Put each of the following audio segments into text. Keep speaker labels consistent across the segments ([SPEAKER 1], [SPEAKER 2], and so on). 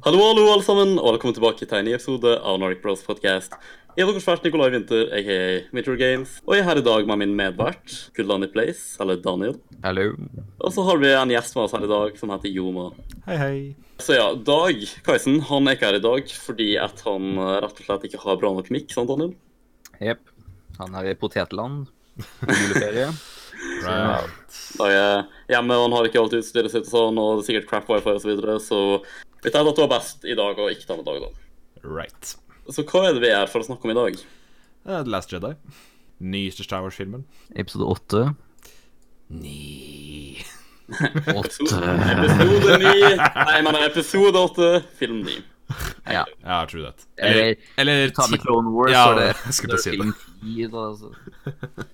[SPEAKER 1] Hallo, hallo, alle sammen, og velkommen tilbake til en ny episode av Nordic Bros podcast. Jeg er deres vert Nikolai Winther, aka Winter Games, og jeg er her i dag med min medvert, Kuldani Place, eller Daniel.
[SPEAKER 2] Hallo.
[SPEAKER 1] Og så har vi en gjest med oss her i dag som heter Joma.
[SPEAKER 3] Hei, hei.
[SPEAKER 1] Så ja, Dag Kaisen han er ikke her i dag fordi at han eh, rett og slett ikke har bra nok mikk, sant Daniel?
[SPEAKER 2] Jepp. Han er i potetland. på Juleferie.
[SPEAKER 3] Right.
[SPEAKER 1] Dag er hjemme, og han har ikke alt utstyret sitt og sånn, og det er sikkert crap wifi og så videre, så vi tenkte at det var best i dag og ikke ta med Dag, da.
[SPEAKER 3] right.
[SPEAKER 1] Så hva er det vi er for å snakke om i dag?
[SPEAKER 3] Eh, The Last Jedi. Nyeste Star Wars-filmen.
[SPEAKER 2] Episode åtte.
[SPEAKER 3] Ni.
[SPEAKER 1] Episode 9 Nei, men episode 8, film 9.
[SPEAKER 2] Ja.
[SPEAKER 3] Ja, true that.
[SPEAKER 2] Eller-
[SPEAKER 3] eller
[SPEAKER 2] Ta med Clone Wars,
[SPEAKER 3] Ja,
[SPEAKER 2] og det
[SPEAKER 3] jeg skulle til å si det.
[SPEAKER 2] si det. Altså.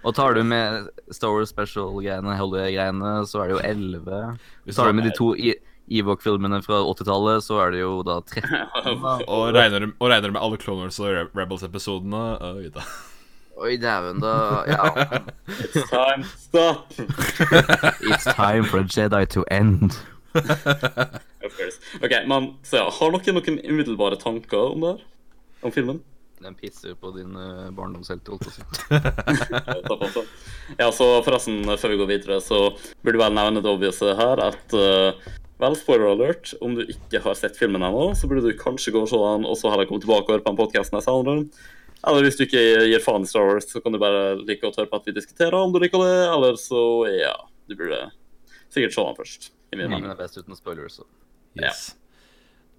[SPEAKER 2] Og tar du med Star Wars Special-greiene, Hollywood-greiene, så er det jo 11.
[SPEAKER 3] Hvis
[SPEAKER 2] Tar
[SPEAKER 3] du-
[SPEAKER 2] du med de to I- Ewok-filmene fra 80-tallet, så er det jo da 13. da.
[SPEAKER 3] Og regner, du- og regner du med alle Clone Wars og Re- Rebels-episodene? Oi da.
[SPEAKER 2] Oi, dæven, da. Ja.
[SPEAKER 1] It's time, stop!
[SPEAKER 2] It's time for Jedi to end.
[SPEAKER 1] Of course. Ok, men så ja, Har dere noen umiddelbare tanker om det her? Om filmen?
[SPEAKER 2] Den pisser på din eh, barndomshelt, holdt jeg på å si.
[SPEAKER 1] Ja, ta på seg. Ja, så forresten, før vi går videre, så burde vel nevne det obviouse her at eh, Vel, spoiler alert, om du ikke har sett filmen ennå, så burde du kanskje gå og se den, og så heller komme tilbake og høre på den podkasten jeg senere. Eller hvis du ikke gir faen i Star Wars, så kan du bare like godt høre på at vi diskuterer om du liker det, eller så, ja Du burde sikkert se den først. i min mening.
[SPEAKER 2] Filmen er best uten spoilers. Så.
[SPEAKER 3] Yes.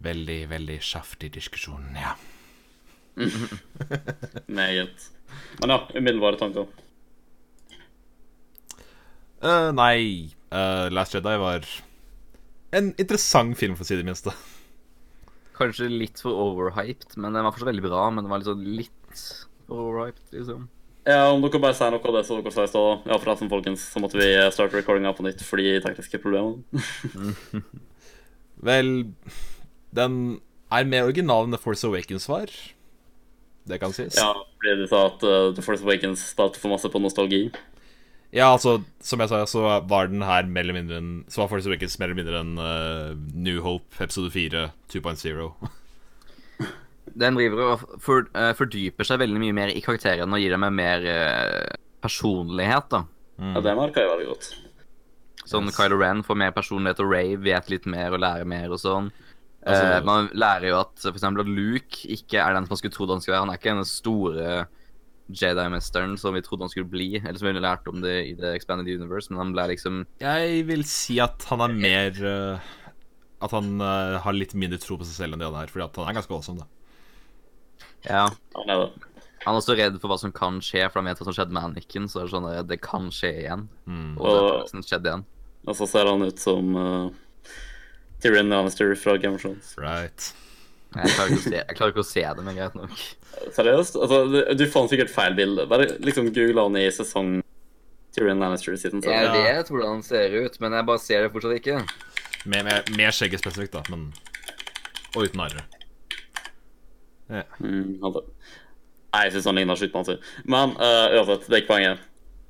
[SPEAKER 3] Veldig, veldig saftig diskusjon, ja.
[SPEAKER 1] Meget. Men ja, umiddelbare tanker.
[SPEAKER 3] Eh, nei Eh, Last Jedi var en interessant film, for å si det minste.
[SPEAKER 2] Kanskje litt for overhyped, men den var fortsatt veldig bra. Men den var litt sånn litt for overhyped, liksom.
[SPEAKER 1] Ja, Om dere bare sier noe av det som dere sa i stad. Ja, forresten, folkens, så måtte vi starte recordinga på nytt fordi tekniske problemer.
[SPEAKER 3] Vel, den er mer original enn The Force Awakens var. Det kan sies.
[SPEAKER 1] Ja, fordi du sa at eh, The Force Awakens starter for masse på nostalgi.
[SPEAKER 3] Ja, altså, som jeg sa, så var den her mer eller mindre en Så var Force Awakens mer eller mindre en eh, New Hope episode 4 2.0.
[SPEAKER 2] Den driver og for, eh, fordyper seg veldig mye mer i karakterene og gir dem en mer eh, personlighet, da.
[SPEAKER 1] Ja, Det merka jeg veldig godt.
[SPEAKER 2] Sånn
[SPEAKER 3] Yes.
[SPEAKER 2] Kylo Ren får mer personlighet, og Ray vet litt mer og lærer mer og sånn.
[SPEAKER 3] Altså-
[SPEAKER 2] Eh, man lærer jo at for eksempel at Luke ikke er den som man skulle trodd han skulle være. Han er ikke den store Jedi-mesteren som vi trodde han skulle bli, eller som vi lærte om det i The Expanded Universe, men han ble liksom
[SPEAKER 3] Jeg vil si at han er mer eh, At han eh, har litt mindre tro på seg selv enn det han er, fordi at han er ganske awesome, da.
[SPEAKER 2] Ja.
[SPEAKER 1] Ja, det er det.
[SPEAKER 2] Han er også redd for hva som kan skje, for han vet hva som skjedde med Anniken. Så er det sånn at det kan skje igjen.
[SPEAKER 3] Mm,
[SPEAKER 2] Og det har liksom skjedd igjen.
[SPEAKER 1] Og så ser han ut som uh, Tyrion Lannister fra Game of Thrones.
[SPEAKER 3] Right.
[SPEAKER 2] Jeg klarer ikke å se, jeg klarer ikke å se det, men greit nok.
[SPEAKER 1] Seriøst? Altså, du- du fant sikkert feil bilde. Bare liksom google han i sesong Tyrion Lannister siden
[SPEAKER 2] Jeg
[SPEAKER 1] sesong.
[SPEAKER 3] Ja.
[SPEAKER 2] vet hvordan han ser ut, men jeg bare ser det fortsatt ikke.
[SPEAKER 3] Med, med, med skjegget spesifikt, da, men Og uten arre.
[SPEAKER 1] Mm, altså. Nei, jeg syns han ligner skytepanser. Men eh, uansett, det er ikke poenget.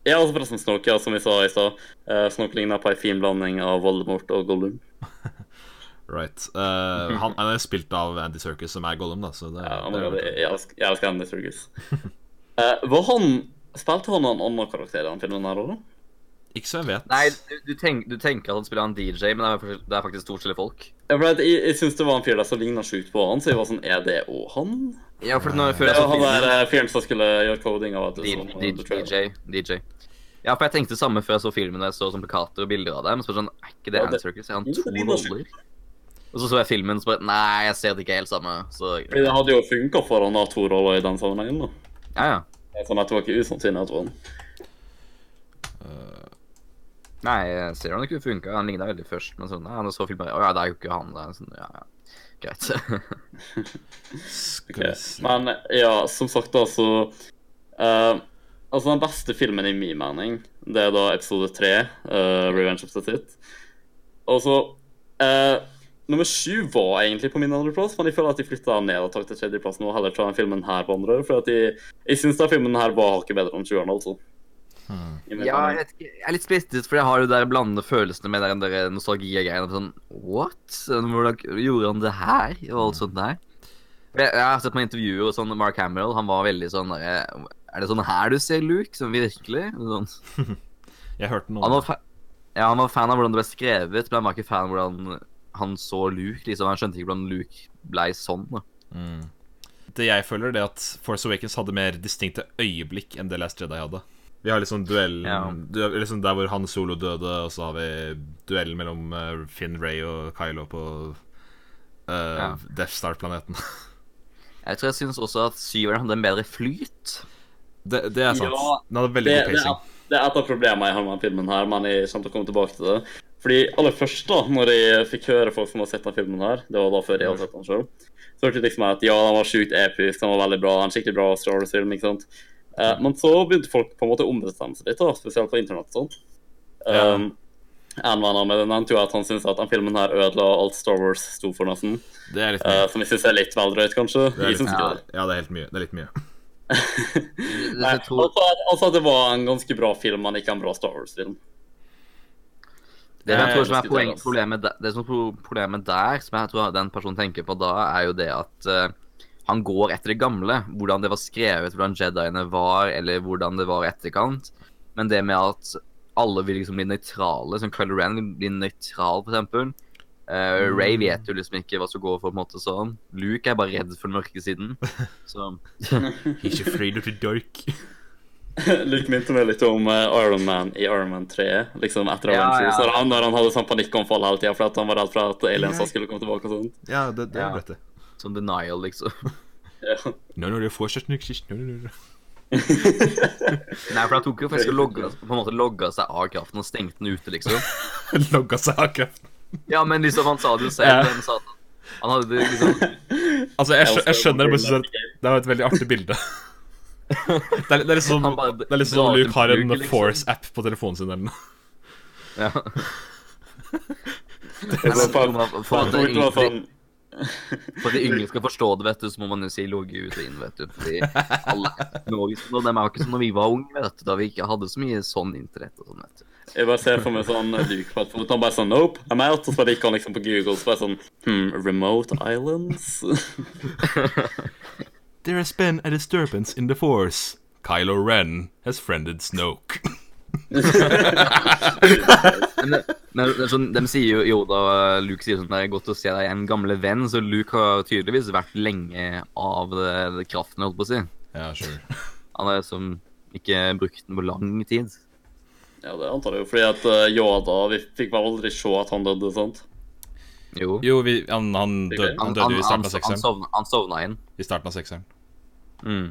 [SPEAKER 1] Jeg har også forresten Snork, ja, som vi sa i stad. Uh, Snork ligner på en fin blanding av Voldemort og Gollum.
[SPEAKER 3] Right. Eh, han, han er spilt av Andy Circus, som er Gollum, da, så det,
[SPEAKER 1] Ja, men
[SPEAKER 3] det er-
[SPEAKER 1] jeg, jeg, elsker- jeg elsker Andy Sergis. Eh, var han Spilte han en annen karakter i den filmen her òg?
[SPEAKER 3] Ikke så jeg vet.
[SPEAKER 2] Nei, du, du, tenk, du tenker at han spiller en DJ, men det er, faktisk- det er faktisk to forskjellige folk.
[SPEAKER 1] Jeg, jeg syns det var en fyr der som ligna sjukt på han, så jeg var sånn Er det òg han?
[SPEAKER 2] Ja, for når jeg før
[SPEAKER 1] Det
[SPEAKER 2] jeg så
[SPEAKER 1] var han der
[SPEAKER 2] filmen
[SPEAKER 1] eh, sånn, fyren som skulle gjøre coding av et
[SPEAKER 2] D- D- DJ. DJ. Ja, for jeg tenkte det samme før jeg så filmen. Jeg så sånn plakater og bilder av dem. Og så sånn, er ikke det
[SPEAKER 1] Ja,
[SPEAKER 2] Andy
[SPEAKER 1] det-
[SPEAKER 2] Circus? Er han
[SPEAKER 1] Jo,
[SPEAKER 2] to
[SPEAKER 1] det ligner sjukt.
[SPEAKER 2] roller? Og så så jeg filmen, så bare Nei, jeg ser det ikke helt samme. Så
[SPEAKER 1] Fordi
[SPEAKER 2] ja,
[SPEAKER 1] det hadde jo funka for han å ha to roller i den sammenhengen, da.
[SPEAKER 2] ja.
[SPEAKER 1] Sånn at det var ikke usannsynlig at det var han.
[SPEAKER 3] Eh,
[SPEAKER 2] Nei, jeg ser han ikke funka. Han ligna veldig først, men sånn, ja, når jeg så filmen, å ja, det er jo ikke han. Det er sånn, ja, ja. Greit.
[SPEAKER 3] Skal vi
[SPEAKER 1] Ok,
[SPEAKER 3] se.
[SPEAKER 1] Men ja, som sagt, da, så eh, Altså, den beste filmen i min mening, det er da episode tre, eh, 'Revenge of the Sith'. Og så eh, Nummer sju var egentlig på min andreplass, men jeg føler at de flytta ned og tok til tredjeplass nå, og heller ta den filmen her på andre. For at de, jeg syns den filmen her var hakket bedre enn sjueren, altså.
[SPEAKER 3] Hmm.
[SPEAKER 1] i min
[SPEAKER 2] Ja,
[SPEAKER 1] mening.
[SPEAKER 2] jeg vet ikke. Jeg er litt splittet, for jeg har jo de der blandede følelsene med den der nostalgi-greiene. Sånn, what? Sånn, Hvordan gjorde han det her? Og alt sånt der. For Jeg, jeg har sett på intervjuer, og sånn, Mark Hamill han var veldig sånn der, Er det sånn her du ser Luke? Sånn virkelig? Sånn.
[SPEAKER 3] Jeg hørte
[SPEAKER 2] Han,
[SPEAKER 3] noe.
[SPEAKER 2] var fa ja, han var fan av hvordan det ble skrevet, men han var ikke fan av hvordan han så Luke. liksom. Han skjønte ikke hvordan Luke blei sånn. da.
[SPEAKER 3] Mm. Det jeg føler, det er at Force Awakens hadde mer distinkte øyeblikk enn det Last Jedi hadde. Vi har liksom duellen
[SPEAKER 2] Ja.
[SPEAKER 3] du, liksom Der hvor Han Solo døde, og så har vi duellen mellom eh, Finn Ray og Kylo på eh,
[SPEAKER 2] Ja.
[SPEAKER 3] Death Star-planeten.
[SPEAKER 2] Jeg tror jeg syns også at syveren hadde en bedre flyt.
[SPEAKER 3] Det, det er sant.
[SPEAKER 1] Ja,
[SPEAKER 3] Den hadde veldig
[SPEAKER 1] det,
[SPEAKER 3] god
[SPEAKER 1] det,
[SPEAKER 3] pacing.
[SPEAKER 1] er, det er et av problemene jeg har med filmen her, men jeg kommer til å komme tilbake til det. Fordi aller først, da, når jeg fikk høre folk som har sett den filmen her, det var da før jeg hadde sett den sjøl, så hørte jeg liksom at ja, den var sjukt episk, den var veldig bra, en skikkelig bra Star Wars-film, ikke sant. Eh, men så begynte folk på en måte å ombestemme seg litt, da, spesielt på internett og sånt.
[SPEAKER 3] Ja.
[SPEAKER 1] Um, en venn av meg nevnte jo at han syntes at den filmen her ødela alt Star Wars sto for, nesten.
[SPEAKER 3] Det er litt
[SPEAKER 1] Eh,
[SPEAKER 3] mye.
[SPEAKER 1] som jeg syns er litt vel drøyt, kanskje.
[SPEAKER 3] Det er
[SPEAKER 1] Jeg
[SPEAKER 3] litt,
[SPEAKER 1] syns ikke det.
[SPEAKER 3] ja, det er helt mye. Det er litt mye.
[SPEAKER 1] Nei,
[SPEAKER 2] Jeg tror
[SPEAKER 1] altså, altså at det var en ganske bra film, men ikke en bra Star Wars-film.
[SPEAKER 2] Det altså. som jeg
[SPEAKER 1] Nei,
[SPEAKER 2] tror som er
[SPEAKER 1] jeg
[SPEAKER 2] poeng,
[SPEAKER 1] diskuterer oss.
[SPEAKER 2] problemet, der, det som er pro- problemet der, som jeg tror den personen tenker på da, er jo det at eh, han går etter det gamle. Hvordan det var skrevet, hvordan jediene var, eller hvordan det var i etterkant. Men det med at alle vil liksom bli nøytrale, som Kylo Ren vil bli nøytral, for eksempel. Eh, Ray vet jo liksom ikke hva som går for, på en måte sånn. Luke er bare redd for den mørke siden. Så
[SPEAKER 3] He's afraid of the dark.
[SPEAKER 1] Luke minte meg litt om eh, Iron Man i Iron Man 3. Liksom etter
[SPEAKER 2] Ja,
[SPEAKER 1] Avengers.
[SPEAKER 2] ja.
[SPEAKER 1] Når, han, når han hadde sånn panikkanfall hele tida fordi at han var redd for at aliensa skulle komme tilbake og sånt.
[SPEAKER 3] Ja, det, det
[SPEAKER 2] Ja.
[SPEAKER 3] er rett, det.
[SPEAKER 2] sånn denial, liksom.
[SPEAKER 1] Ja.
[SPEAKER 3] No, no, det er fortsatt noe sist. No, no, no.
[SPEAKER 2] Nei, for han tok jo faktisk og logga, på en måte logga seg av kraften og stengte den ute, liksom.
[SPEAKER 3] Logga seg av kraften.
[SPEAKER 2] Ja, men liksom, han sa det jo selv.
[SPEAKER 3] Ja.
[SPEAKER 2] Han, sa, han hadde det liksom
[SPEAKER 3] Altså, jeg, skjø- jeg skjønner det, men jeg synes at det er et veldig artig bilde. Det er, det er litt som
[SPEAKER 2] Han bare
[SPEAKER 3] det er litt som om
[SPEAKER 2] drar
[SPEAKER 3] Luke
[SPEAKER 2] til
[SPEAKER 3] har en
[SPEAKER 2] plugg, liksom.
[SPEAKER 3] Force-app på telefonen sin eller noe.
[SPEAKER 2] ja.
[SPEAKER 1] er så
[SPEAKER 2] Men for- For at
[SPEAKER 1] Det
[SPEAKER 2] de
[SPEAKER 1] var
[SPEAKER 2] yngre,
[SPEAKER 1] sånn,
[SPEAKER 2] for at de yngre skal forstå det, vet du, så må man jo si logge ut og inn, vet du. Fordi alle Norge, og dem er jo ikke som når vi var unge, vet du, da vi ikke hadde så mye sånn internett og sånn, vet du.
[SPEAKER 1] jeg bare ser for meg sånn Luke på et fot. Han bare sånn Nope, I'm out. Og så bare gikk han liksom på Google så bare sånn Hm, Remote Islands?
[SPEAKER 3] There has been a disturbance in the force. Kylo Ren has friended Snoke.
[SPEAKER 2] Men, det- men det er sånn, de sier jo, jo da Luke sier sånn, det er godt å se deg, en gamle venn, så Luke har tydeligvis vært lenge av det, det kraften, holdt på å si.
[SPEAKER 3] Ja, sure.
[SPEAKER 2] Han har liksom ikke brukt den på lang tid.
[SPEAKER 1] ja, det antar jeg jo. Fordi at eh, Yoda Vi fikk vel aldri se at han døde, sant?
[SPEAKER 2] Jo.
[SPEAKER 3] Jo, vi, han, han, døde, han
[SPEAKER 2] Han,
[SPEAKER 3] døde
[SPEAKER 2] han,
[SPEAKER 3] jo i
[SPEAKER 2] han,
[SPEAKER 3] starten
[SPEAKER 2] han,
[SPEAKER 3] av sekseren.
[SPEAKER 2] sovna, han sovna inn.
[SPEAKER 3] I starten av sekseren.
[SPEAKER 2] Mm.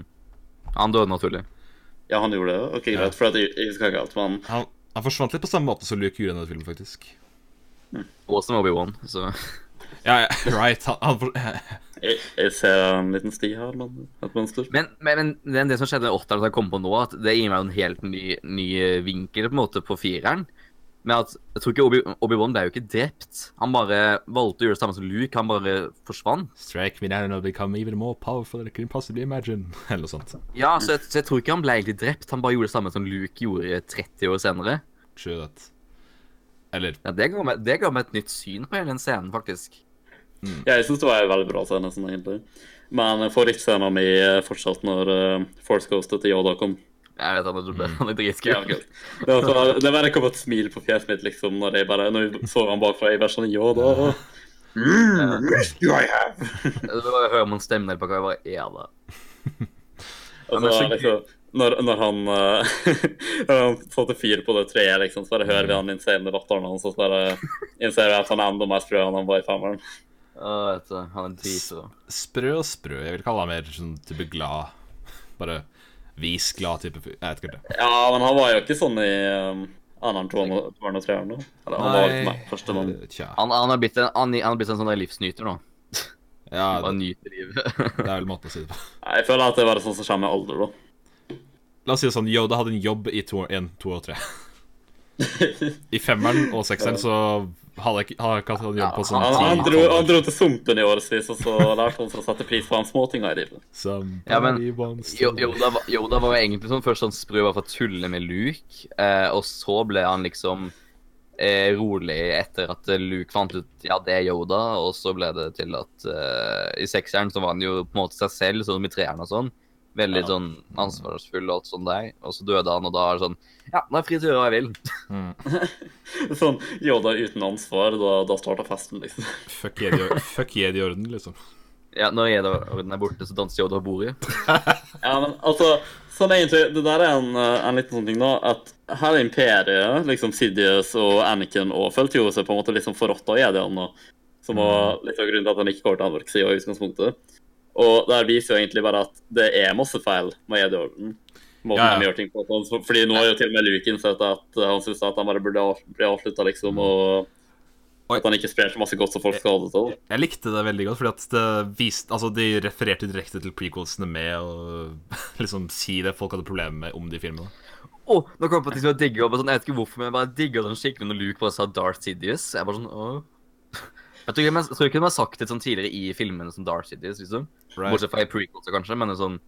[SPEAKER 2] Han døde naturlig.
[SPEAKER 1] Ja, han gjorde det. OK, greit. For at jeg, jeg husker ikke alt, men
[SPEAKER 3] Han, han forsvant litt på samme måte som Luke gjorde i denne filmen, faktisk.
[SPEAKER 2] Og som Obi-Wan, så
[SPEAKER 3] Ja, ja, right. Han, han for...
[SPEAKER 1] jeg, jeg ser en liten sti her, men et mønster.
[SPEAKER 2] Men, men, men det, det som skjedde i åtteren, som jeg kom på nå, at det gir meg jo en helt ny, ny vinkel på en måte på fireren. Med at jeg tror ikke Obi- Obi-Wan ble jo ikke drept. Han bare valgte å gjøre det samme som Luke, han bare forsvant.
[SPEAKER 3] Strike me down and become even more powerful than I can possibly imagine. Eller noe sånt.
[SPEAKER 2] Ja, så jeg, så jeg tror ikke han ble egentlig drept, han bare gjorde det samme som Luke gjorde 30 år senere.
[SPEAKER 3] True that. Eller
[SPEAKER 2] Ja, det ga meg, det ga meg et nytt syn på hele den scenen, faktisk.
[SPEAKER 3] mm.
[SPEAKER 1] Ja, jeg syns det var en veldig bra scene, sånn, egentlig. Men favorittscena mi eh, fortsatt når eh, Force Ghostet til Yoda kom.
[SPEAKER 2] Jeg vet han er, han er
[SPEAKER 1] Ja,
[SPEAKER 2] dritskummel.
[SPEAKER 1] ok. Det var så- det bare kom et smil på fjeset mitt liksom, når jeg bare når jeg så han bakfra. Jeg bare sånn Yoda. Mm, yes, you I have.
[SPEAKER 2] Det var å høre om han stemmer på hva jeg bare er da.
[SPEAKER 1] Og
[SPEAKER 2] Men det er
[SPEAKER 1] så,
[SPEAKER 2] så gøy.
[SPEAKER 1] liksom, når, når han uh, Når han satte fyr på det treet, liksom, så bare hører vi han insane latteren hans, og så bare innser vi at han er enda mer sprø enn han var i femmeren.
[SPEAKER 2] Å, vet du, han er dritsprø.
[SPEAKER 3] sprø og sprø. Jeg vil kalle han mer sånn type glad. Bare vis glad type fyr. Jeg vet ikke det.
[SPEAKER 1] Ja, men han var jo ikke sånn i um, annen toeren og treeren, da. Eller, han var jo ikke med første, men
[SPEAKER 3] Eh, Tja.
[SPEAKER 2] Han, han, har blitt en, han, han har blitt en sånn der livsnyter nå.
[SPEAKER 3] Ja,
[SPEAKER 2] Bare
[SPEAKER 3] det,
[SPEAKER 2] nyter livet.
[SPEAKER 3] det er vel måten å si det på.
[SPEAKER 1] Nei, jeg føler at det er bare sånn som skjer med alder, da.
[SPEAKER 3] La oss si det sånn, Yoda hadde en jobb i to, en, to og tre. I femmeren og sekseren så hadde jeg ikke hadde jeg ikke hatt en jobb på sånn
[SPEAKER 1] Han, han, dro, han
[SPEAKER 3] 10-12
[SPEAKER 1] dro til sumpen i årevis, og så lærte han seg å sette pris på hans småtinga i livet.
[SPEAKER 2] Ja, men-
[SPEAKER 3] Somebody wants to-
[SPEAKER 2] Jo- Yoda, var- Yoda var jo egentlig sånn først sånn sprø bare for å tulle med Luke, eh, og så ble han liksom eh, rolig etter at eh, Luke fant ut ja, det er Yoda, og så ble det til at eh, i sekseren så var han jo på en måte seg selv, sånn som i treeren og sånn. Veldig
[SPEAKER 1] Ja.
[SPEAKER 2] sånn ansvarsfull og alt sånt der. Og så døde han, og da er det sånn Ja, nå er jeg fri til å gjøre hva jeg vil.
[SPEAKER 1] Sånn Yoda uten ansvar, da, da starta festen, liksom.
[SPEAKER 3] Fuck jedi- Fuck jedi-orden, liksom.
[SPEAKER 2] Ja, når Yoda-orden er borte, så danser Yoda på bordet.
[SPEAKER 1] Ja, men altså Sånn egentlig, Det der er en, eh, en liten sånn ting, da. At her er imperiet. liksom Sidious og Anakin og følte jo seg på en måte liksom forrådt av jediene. da, Som
[SPEAKER 3] Mm.
[SPEAKER 1] var litt av grunnen til at han ikke går til Anarksia i utgangspunktet. Og der viser jo egentlig bare at det er masse feil med jediorden. Måten
[SPEAKER 3] Ja, ja.
[SPEAKER 1] de gjør ting på. sånn, så- Fordi nå har jo til og med Luke innsett at eh, han syns at han bare burde av- bli avslutta, liksom. Og
[SPEAKER 3] Mm. Oi.
[SPEAKER 1] at han ikke sprer så masse godt som folk skal ha det til.
[SPEAKER 3] Jeg likte det veldig godt, fordi at det viste, altså de refererte direkte til prequelsene med å liksom si det folk hadde problemer med om de filmene.
[SPEAKER 2] Å, nå kom jeg på ting som jeg digger. og bare Sånn, jeg vet ikke hvorfor, men jeg bare digger sånn skikkelig når Luke bare sa Darth Sidious. Jeg bare sånn, åh. Jeg tror ikke, jeg tror ikke de har sagt det sånn tidligere i filmene som Darth Sidious, liksom. Bortsett fra i prequelser, kanskje, men det er sånn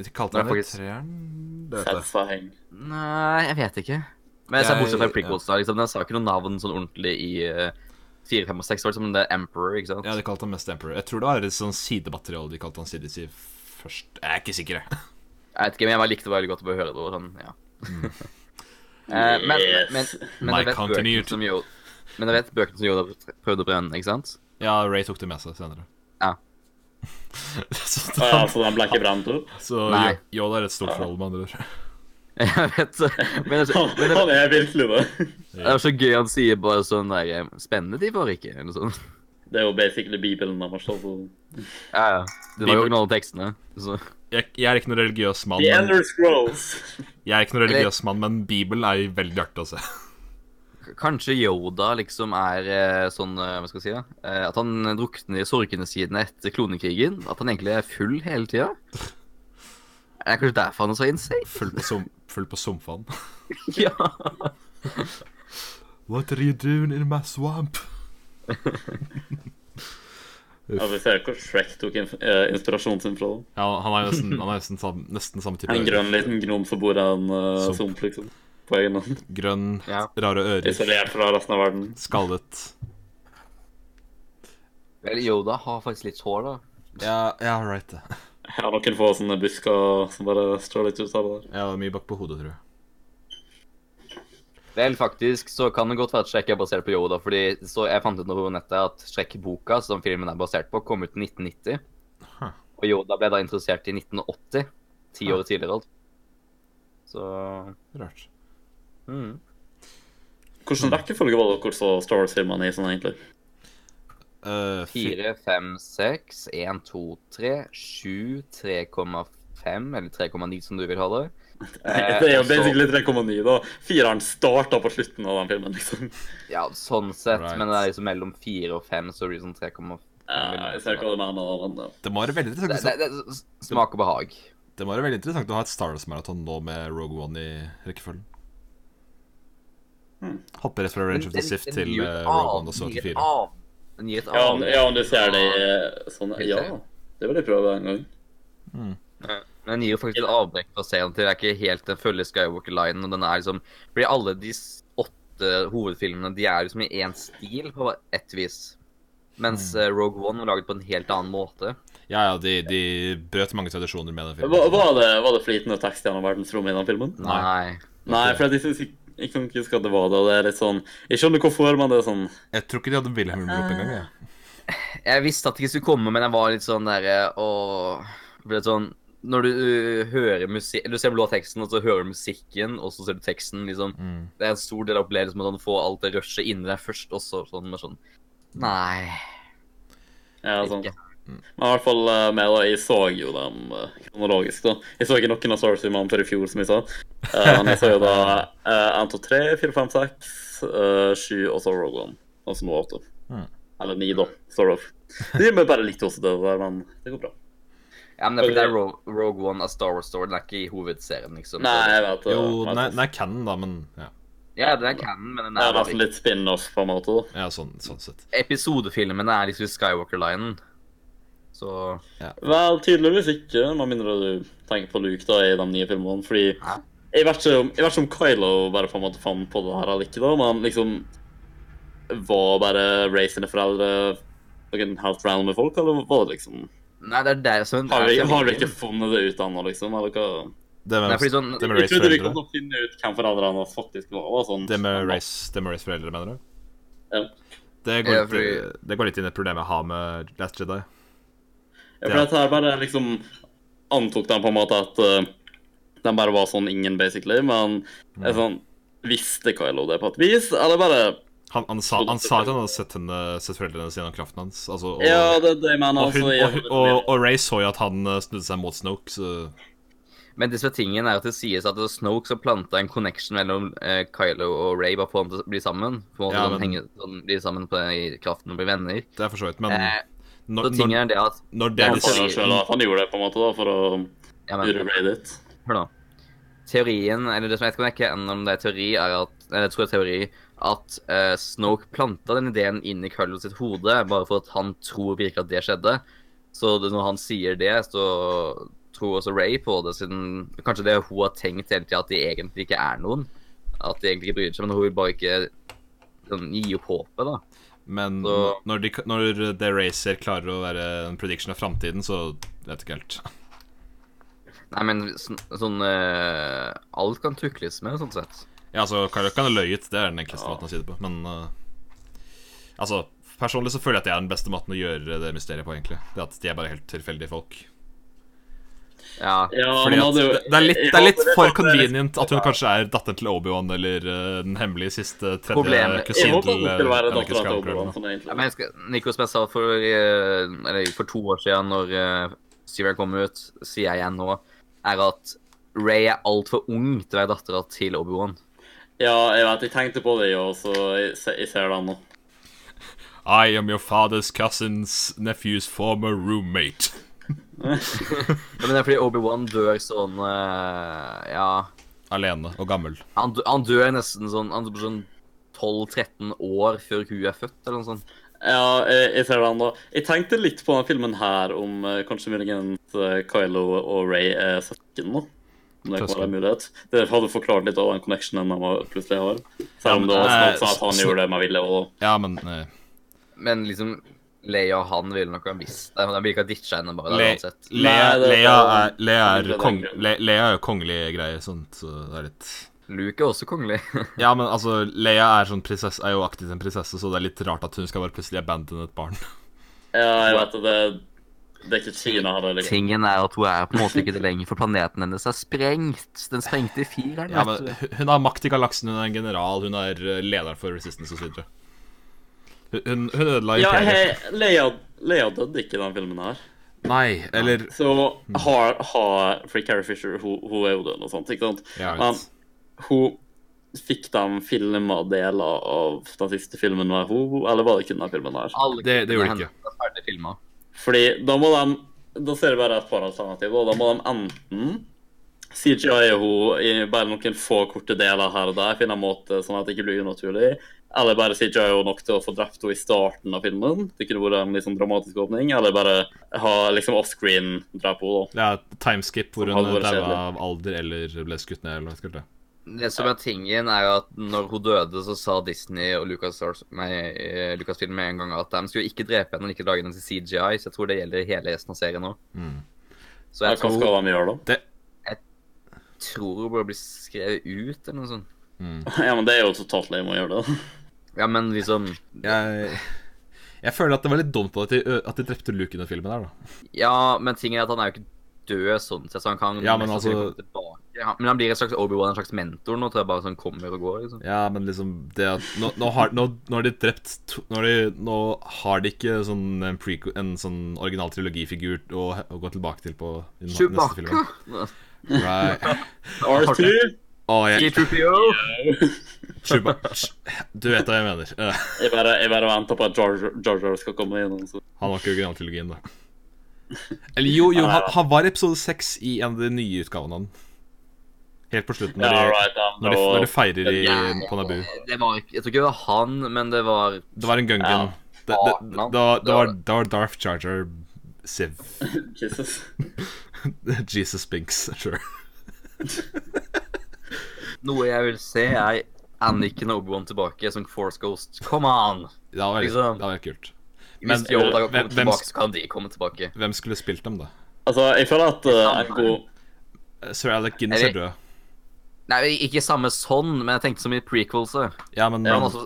[SPEAKER 3] De kalte
[SPEAKER 2] Nei,
[SPEAKER 3] den
[SPEAKER 2] faktisk-
[SPEAKER 3] treeren? Det vet jeg.
[SPEAKER 1] Satisfying.
[SPEAKER 2] Nei, jeg vet ikke. Men jeg ser
[SPEAKER 3] Jeg-
[SPEAKER 2] bortsett fra i
[SPEAKER 3] ja.
[SPEAKER 2] prequelser, liksom. Den sa ikke noe navn sånn ordentlig i eh, 4, 5 og 6, var det som det er Emperor, ikke sant?
[SPEAKER 3] Ja, de kalte han mest Emperor. Jeg tror det var et sånn sidemateriale de kalte han Sidious i først. Jeg er ikke sikker, jeg.
[SPEAKER 2] Jeg vet ikke, men jeg bare likte det veldig godt å bare høre det. og Sånn, ja. Eh, men,
[SPEAKER 1] Yes.
[SPEAKER 2] men, men,
[SPEAKER 3] My
[SPEAKER 2] jeg vet
[SPEAKER 3] continuity.
[SPEAKER 2] bøkene som Yoda, men jeg vet bøkene som Yoda prøvde å brenne, ikke sant?
[SPEAKER 3] Ja, Ray tok det med seg senere.
[SPEAKER 2] Ja.
[SPEAKER 3] så
[SPEAKER 1] Ah,
[SPEAKER 3] da,
[SPEAKER 1] Ja, så den ble ikke brent opp?
[SPEAKER 3] sånn- så
[SPEAKER 2] Nei.
[SPEAKER 3] Yo- Yoda er et stort forhold, med andre ord.
[SPEAKER 2] Jeg vet Men, det-
[SPEAKER 1] Han,
[SPEAKER 2] men altså- det,
[SPEAKER 1] han er virkelig det.
[SPEAKER 2] det er så gøy han sier bare sånn der Spennende de var ikke, eller sånn.
[SPEAKER 1] Det er jo basically Bibelen deres. Altså.
[SPEAKER 2] Ja, ja. Det var jo originale tekstene. Så.
[SPEAKER 3] Jeg, jeg er ikke noen religiøs mann,
[SPEAKER 1] The
[SPEAKER 3] men,
[SPEAKER 1] Ender Scrolls.
[SPEAKER 3] jeg er ikke noen religiøs mann, men Bibelen er veldig altså. artig å se.
[SPEAKER 2] K- Kanskje Yoda liksom er eh, sånn, eh, hva skal jeg si, da? Eh, At han drukner i sorgene sine etter klonekrigen. At han egentlig er full hele tida. Er det kanskje derfor han er så insane?
[SPEAKER 3] Full på, som, full på somfaen.
[SPEAKER 2] Ja.
[SPEAKER 3] What are you doing in my swamp?
[SPEAKER 1] Ja, vi ser hvor Shrek tok in eh, inspirasjonen sin fra.
[SPEAKER 3] Ja, han har jo nesten, han har nesten, sam, nesten samme type
[SPEAKER 1] En grønn liten gnom som bor i en eh,
[SPEAKER 3] Sump.
[SPEAKER 1] sump, liksom. På egen hånd.
[SPEAKER 3] grønn
[SPEAKER 2] Ja.
[SPEAKER 3] rare ører,
[SPEAKER 1] Isolert fra resten av verden.
[SPEAKER 3] skallet.
[SPEAKER 2] Vel, Yoda har faktisk litt hår, da.
[SPEAKER 3] Ja, ja, right det.
[SPEAKER 1] Jeg har noen få sånne busker som bare strår litt ut av det der.
[SPEAKER 3] Ja, mye bak på hodet, tror jeg.
[SPEAKER 2] Vel, faktisk så kan det godt være at Shrek er basert på Yoda, fordi så jeg fant ut noe på nettet at Shrek-boka, som filmen er basert på, kom ut i 1990.
[SPEAKER 3] Huh.
[SPEAKER 2] Og Yoda ble da interessert i 1980, ti år tidligere. alt. Så
[SPEAKER 3] Rart.
[SPEAKER 2] mm.
[SPEAKER 1] Hvordan rekkefølge var det dere så Star Wars-filmene i sånn, egentlig?
[SPEAKER 3] Eh, fi-
[SPEAKER 2] 4, 5, 6, 1, 2, 3, 7, 3,5 eller 3,9 som du vil ha det. Eh,
[SPEAKER 1] det er jo
[SPEAKER 2] og så-
[SPEAKER 1] basically 3,9, da. Fireren starta på slutten av den filmen, liksom.
[SPEAKER 2] Ja, sånn sett,
[SPEAKER 3] Right.
[SPEAKER 2] men det er liksom mellom 4 og 5, så blir det sånn 3,5.
[SPEAKER 1] Ja, jeg ser hva du mener. men, ja.
[SPEAKER 3] Det må være veldig
[SPEAKER 2] Det,
[SPEAKER 3] interessant,
[SPEAKER 2] det, det, smak og behag.
[SPEAKER 3] det må være veldig interessant å ha et Star Wars-maraton nå med Rogue One i rekkefølgen. Hoppe rett fra Range of the Sith til eh, Rogue One og så til 4.
[SPEAKER 2] Den gir et
[SPEAKER 1] Ja,
[SPEAKER 2] annet.
[SPEAKER 1] ja, om du ser det i eh, sånn Ja, det vil jeg prøve en gang.
[SPEAKER 2] Men den gir jo faktisk et avbrekk fra serien til. Det er ikke helt den følger Skywalker-linen. og den er liksom... Fordi alle de s- åtte hovedfilmene de er liksom i én stil på ett vis. Mens
[SPEAKER 3] Mm.
[SPEAKER 2] eh, Rogue One var laget på en helt annen måte.
[SPEAKER 3] Ja, ja, de, de brøt mange tradisjoner med den
[SPEAKER 1] Var,
[SPEAKER 3] filmen.
[SPEAKER 1] var, det, var det flytende tekst gjennom verdensrommet i den filmen?
[SPEAKER 2] Nei.
[SPEAKER 1] Nei, for jeg synes ikke, jeg kan ikke huske at det var det. og Det er litt sånn Jeg skjønner hvorfor, men det er sånn
[SPEAKER 3] Jeg tror ikke de hadde Wilhelm-rop engang. jeg.
[SPEAKER 2] Jeg visste at det ikke skulle komme, men jeg var litt sånn derre Åh... Ble litt sånn Når du uh, hører musikk Du ser blå teksten, og så hører du musikken, og så ser du teksten, liksom.
[SPEAKER 3] Mm,
[SPEAKER 2] Det er en stor del av opplevelsen med å sånn, få alt det rushet inni deg først, og så sånn med sånn Nei.
[SPEAKER 1] Ja, sånn.
[SPEAKER 2] Ikke.
[SPEAKER 1] Men i hvert fall eh, med da, jeg så jo dem eh, kronologisk, da. Jeg så ikke noen av Star Wars-filmene før i fjor, som jeg sa. Eh, Men jeg så jo da eh, 1, 2, 3, 4, 5, 6, eh, 7 og så Rogue One. Og så nå 8.
[SPEAKER 3] Mm.
[SPEAKER 1] Eller 9, da. Sort of. Det gir meg bare litt hos det der, men det går bra.
[SPEAKER 2] Ja, men det er, fordi det er Ro- Rogue One av Star Wars Story, den er ikke i hovedserien, liksom.
[SPEAKER 1] Nei, jeg vet det.
[SPEAKER 3] Jo, den er- den er canon, da, men ja.
[SPEAKER 2] Ja, den er canon, men den
[SPEAKER 1] Det
[SPEAKER 2] er
[SPEAKER 1] er nesten litt spin-off, på en måte. da.
[SPEAKER 3] Ja, sånn, sånn sett.
[SPEAKER 2] Episodefilmene er liksom Skywalker-linen. Så
[SPEAKER 1] Vel, tydeligvis ikke, med mindre du tenker på Luke da i de nye filmene. Fordi
[SPEAKER 2] Hæ?
[SPEAKER 1] jeg vet, ikke om, jeg vet ikke om Kylo bare på en måte fant på det her eller ikke, da, men liksom Var bare Ray sine foreldre noen helt random folk, eller var det liksom
[SPEAKER 2] Nei, det er det som
[SPEAKER 1] Har vi,
[SPEAKER 2] det er
[SPEAKER 1] har vi ikke funnet det ut ennå, liksom? Eller hva?
[SPEAKER 3] Det med,
[SPEAKER 2] Nei, fordi sånn-
[SPEAKER 3] det med
[SPEAKER 1] Jeg
[SPEAKER 3] Rays
[SPEAKER 1] trodde vi
[SPEAKER 3] foreldre,
[SPEAKER 1] kom til å finne ut hvem foreldrene faktisk var. og sånn.
[SPEAKER 3] det med Rays, det med Rays foreldre mener du?
[SPEAKER 1] Ja.
[SPEAKER 3] Det går,
[SPEAKER 2] Ja,
[SPEAKER 3] litt, det går litt inn i et problem jeg har med Last Jedi.
[SPEAKER 1] Ja, for dette her bare liksom antok de på en måte at eh, de bare var sånn ingen, basically, men jeg sånn Visste Kylo det på et vis, eller bare
[SPEAKER 3] Han, han, sa, han sa at han hadde sett, henne, sett foreldrene sine og kraften hans. Altså, og,
[SPEAKER 1] Ja, det er det jeg mener.
[SPEAKER 3] og, hun,
[SPEAKER 1] Altså,
[SPEAKER 3] og,
[SPEAKER 1] jeg,
[SPEAKER 3] hun- og, og Ray så jo at han eh, snudde seg mot Snoke, så
[SPEAKER 2] Men det som er tingen er at det sies at det var Snoke som planta en connection mellom eh, Kylo og Ray bare for dem til å bli sammen. På en måte
[SPEAKER 3] Ja,
[SPEAKER 2] sånn,
[SPEAKER 3] men-
[SPEAKER 2] henge, sånn, bli sammen på, i kraften og bli venner.
[SPEAKER 3] det er for så vidt.
[SPEAKER 1] Sånn-
[SPEAKER 3] Men
[SPEAKER 2] Eh,
[SPEAKER 3] når,
[SPEAKER 2] så tingen er
[SPEAKER 3] når,
[SPEAKER 2] det at
[SPEAKER 3] når det
[SPEAKER 2] Ja,
[SPEAKER 1] han
[SPEAKER 3] er
[SPEAKER 1] sa jo
[SPEAKER 2] teori-
[SPEAKER 1] selv at han gjorde det på en måte da, for å
[SPEAKER 2] ja, men,
[SPEAKER 1] urerate it.
[SPEAKER 2] Hør nå. Teorien, eller det som jeg vet ikke om jeg ikke ender om det er teori, er at eller jeg tror det er teori, at eh, Snoke planta den ideen inn i Kylo sitt hode bare for at han tror virkelig at det skjedde. Så det, når han sier det, så tror også Ray på det, siden kanskje det hun har tenkt hele tida, at de egentlig ikke er noen. At de egentlig ikke bryr seg, men hun vil bare ikke sånn, gi opp håpet, da.
[SPEAKER 3] Men
[SPEAKER 2] Så-
[SPEAKER 3] når, de, når The Racer klarer å være en prediction av framtiden, så vet jeg ikke helt.
[SPEAKER 2] Nei, men sånn, sånn eh, Alt kan tukles med, sånn sett.
[SPEAKER 3] Ja, altså, Karl kan ha løyet, det er den enkleste måten å si det på, men eh, Altså, personlig så føler jeg at det er den beste måten å gjøre det mysteriet på, egentlig. Det at de er bare helt tilfeldige folk.
[SPEAKER 2] Ja.
[SPEAKER 1] Ja,
[SPEAKER 3] Fordi
[SPEAKER 1] men
[SPEAKER 3] at
[SPEAKER 1] hadde jo-
[SPEAKER 3] det, det er litt,
[SPEAKER 1] jeg-
[SPEAKER 3] det er litt
[SPEAKER 1] jeg håper
[SPEAKER 3] for
[SPEAKER 1] det-
[SPEAKER 3] convenient at hun kanskje er datteren til Obi-Wan eller eh, den hemmelige siste tredje
[SPEAKER 1] Jeg
[SPEAKER 2] Problemet-
[SPEAKER 3] kusin
[SPEAKER 1] håper
[SPEAKER 3] til
[SPEAKER 1] det
[SPEAKER 3] eh,
[SPEAKER 1] skulle være
[SPEAKER 3] Anakin
[SPEAKER 1] datteren til
[SPEAKER 3] Skywalker. eller
[SPEAKER 1] Obi-Wan.
[SPEAKER 3] noe.
[SPEAKER 1] sånn
[SPEAKER 2] Ja,
[SPEAKER 1] egentlig.
[SPEAKER 2] men jeg skal, Nico, som jeg sa for, eh, eller for to år siden, når eh, Syrian kom ut, sier jeg igjen nå, er at Ray er altfor ung til å være dattera til Obi-Wan.
[SPEAKER 1] Ja, jeg vet, jeg tenkte på det, jeg òg, så jeg, se- jeg ser den nå.
[SPEAKER 3] I am your father's cousin's nephew's former roommate.
[SPEAKER 2] Ja, men det er fordi Obi-Wan dør sånn eh, Ja,
[SPEAKER 3] Alene og gammel.
[SPEAKER 2] han, dø- han dør nesten sånn Han dør sånn 12-13 år før hun er født, eller noe sånt.
[SPEAKER 1] Ja, jeg, jeg ser den da. Jeg tenkte litt på den filmen her om eh, kanskje muligens eh, Kylo og Ray er søsken nå. Om det kan være en mulighet. Det hadde forklart litt av den connectionen de har- plutselig har. Selv om det var
[SPEAKER 3] Ja, men,
[SPEAKER 1] snakk om at
[SPEAKER 3] eh,
[SPEAKER 1] han
[SPEAKER 3] så-
[SPEAKER 1] gjorde det med vilje og
[SPEAKER 3] Ja, men eh,
[SPEAKER 2] Men liksom Leia og han ville nok ha visst det. men De ville ikke ha ditcha henne bare der
[SPEAKER 3] Le
[SPEAKER 2] uansett.
[SPEAKER 3] Lea,
[SPEAKER 1] Nei, det-
[SPEAKER 3] Lea, er, Lea,
[SPEAKER 1] det
[SPEAKER 3] er
[SPEAKER 1] er
[SPEAKER 3] kong,
[SPEAKER 1] greit.
[SPEAKER 3] Le Lea er jo kongelige greier, sånt, så det er litt
[SPEAKER 2] Luke er også kongelig.
[SPEAKER 3] Ja, men altså, Lea er, sånn prinsesse, er jo aktivt en prinsesse, så det er litt rart at hun skal bare plutselig abandone et barn.
[SPEAKER 1] Ja, jeg vet det. Det liksom. er ikke Kina her. eller-
[SPEAKER 2] Tingen er at hun er på en måte ikke det lenger, for planeten hennes er sprengt. Den sprengte i fireren.
[SPEAKER 3] Ja,
[SPEAKER 2] vet
[SPEAKER 3] men
[SPEAKER 2] du.
[SPEAKER 3] hu- Hun har makt i galaksen, hun er en general, hun er eh, lederen for Resistance osv. Hun, hun hun ødela
[SPEAKER 1] Ja,
[SPEAKER 3] imperiet.
[SPEAKER 1] hei, Leia, Leia døde ikke i den filmen her.
[SPEAKER 3] Nei, eller
[SPEAKER 1] Så
[SPEAKER 3] Mm.
[SPEAKER 1] har, har For Carrie Fisher, hun, hun er jo død og sånt, ikke sant?
[SPEAKER 3] Ja, jeg
[SPEAKER 1] Men
[SPEAKER 3] vet.
[SPEAKER 1] hun fikk de filma deler av den siste filmen med hun, eller var det kun den filmen her?
[SPEAKER 2] Alle
[SPEAKER 3] Det- det gjorde
[SPEAKER 2] klippene
[SPEAKER 3] det ikke.
[SPEAKER 2] hennes er ferdig filmet.
[SPEAKER 1] Fordi da må de Da ser jeg bare et par alternativer. og Da må de enten CGI hun i bare noen få korte deler her og der, finne en måte sånn at det ikke blir unaturlig. Eller bare CGI hun nok til å få drept henne i starten av filmen. Det kunne vært en litt sånn dramatisk åpning. Eller bare ha liksom offscreen drepe henne, da.
[SPEAKER 3] Ja, timeskip hvor hun
[SPEAKER 1] Hadde vært
[SPEAKER 3] daua
[SPEAKER 1] kjedelig.
[SPEAKER 3] av alder eller ble skutt ned eller noe sånt.
[SPEAKER 2] Det som er tingen, er at når hun døde, så sa Disney og Lucas, nei, eh, Lucasfilm med en gang at de skulle ikke drepe henne og ikke lage henne til CGI, så jeg tror det gjelder hele resten av serien nå.
[SPEAKER 3] Mm.
[SPEAKER 2] Så
[SPEAKER 1] Hva
[SPEAKER 2] jeg tror,
[SPEAKER 1] skal de gjøre, da?
[SPEAKER 2] tror hun bare blir skrevet ut, eller noe sånt.
[SPEAKER 1] Ja, men det er jo totalt lame å gjøre det.
[SPEAKER 2] Ja, men liksom
[SPEAKER 3] Jeg, jeg føler at det var litt dumt at de, ø- at de drepte Luke i den filmen der, da.
[SPEAKER 2] Ja, men tingen er at han er jo ikke død sånn sett, så han kan
[SPEAKER 3] Ja, men
[SPEAKER 2] mest sannsynlig
[SPEAKER 3] altså-
[SPEAKER 2] komme tilbake. Han- Men han blir en slags Obi-Wan, en slags mentor nå, tror jeg bare sånn kommer og går, liksom.
[SPEAKER 3] Ja, men liksom det at Nå, nå, har, nå, nå har de drept to, nå, har de, nå har de ikke sånn en, prequel- en sånn original trilogifigur å, å gå tilbake til på i den neste
[SPEAKER 2] Chewbacca!
[SPEAKER 3] filmen. Right.
[SPEAKER 1] R2
[SPEAKER 3] Å, jeg,
[SPEAKER 2] G2PO!
[SPEAKER 3] Chewbacca Du vet hva jeg mener. Eh,
[SPEAKER 1] Jeg bare, jeg bare venter på at Jar Jar- Jar Jar skal komme altså. gjennom. Så.
[SPEAKER 3] Han var ikke originaltrilogien, da. Eller jo, jo, han, han var i episode seks i en av de nye utgavene av den. Helt på slutten,
[SPEAKER 1] Ja,
[SPEAKER 3] når de,
[SPEAKER 1] right, ja,
[SPEAKER 3] når de,
[SPEAKER 1] og-
[SPEAKER 3] når de feirer i,
[SPEAKER 2] Ja.
[SPEAKER 3] på Nabu.
[SPEAKER 2] Det var ikke, jeg tror ikke det var han, men det var
[SPEAKER 3] Det var en gungun.
[SPEAKER 1] Ja.
[SPEAKER 3] Det, det, det, det, var- det, var, det var Darth Charger Siv.
[SPEAKER 1] Jesus.
[SPEAKER 3] Jesus Binks, sure.
[SPEAKER 2] Noe jeg vil se, er Anniken og Obi-Wan tilbake som Force Ghost. Come on!
[SPEAKER 3] Det var veldig,
[SPEAKER 2] Liksom.
[SPEAKER 3] det var helt kult.
[SPEAKER 2] Hvis
[SPEAKER 3] Men,
[SPEAKER 2] Yoda kan
[SPEAKER 3] eh,
[SPEAKER 2] komme
[SPEAKER 3] hvem- hvem
[SPEAKER 2] tilbake,
[SPEAKER 3] sk-
[SPEAKER 2] så kan de komme tilbake.
[SPEAKER 3] Hvem skulle spilt dem, da? Eh,
[SPEAKER 1] Altså, jeg føler at eh, en god
[SPEAKER 3] Sir Alec Guinness er
[SPEAKER 2] Eller-
[SPEAKER 3] død.
[SPEAKER 2] Nei, ikke samme sånn, men jeg tenkte som i prequelset.
[SPEAKER 3] Ja, men,
[SPEAKER 2] For han også,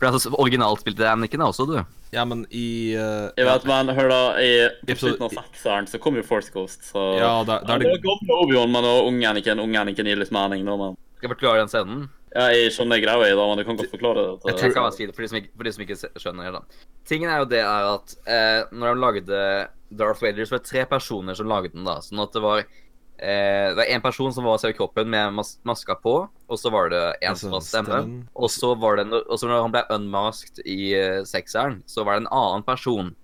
[SPEAKER 2] for han også originalt spilte Anniken er også, du.
[SPEAKER 3] ja, men i eh,
[SPEAKER 1] Jeg vet, men hør da, i på
[SPEAKER 3] Episode-
[SPEAKER 1] slutten av sekseren så kom jo Force Ghost, så
[SPEAKER 3] Ja, da, da
[SPEAKER 1] Ja,
[SPEAKER 3] er
[SPEAKER 1] det var
[SPEAKER 3] det
[SPEAKER 1] gamle Obi-Wan, men og unge Anakin, unge Anakin gir litt mening, da, men
[SPEAKER 2] Skal jeg forklare den scenen?
[SPEAKER 1] Ja, jeg skjønner greia i det, men du kan godt forklare det. eh, til-
[SPEAKER 2] Jeg kan bare si det for de som ikke, for de som ikke se- skjønner det. da. Tingen er jo det er at eh, når de lagde Darth Vader, så var det tre personer som lagde den. da. Sånn at det var eh, det var én person som var selve kroppen med mas maska på, og så var det én som var Altså, stemmen.
[SPEAKER 3] Stemmen.
[SPEAKER 2] Og så var det, no- og så når han ble unmasked i eh, sekseren, så var det en annen person.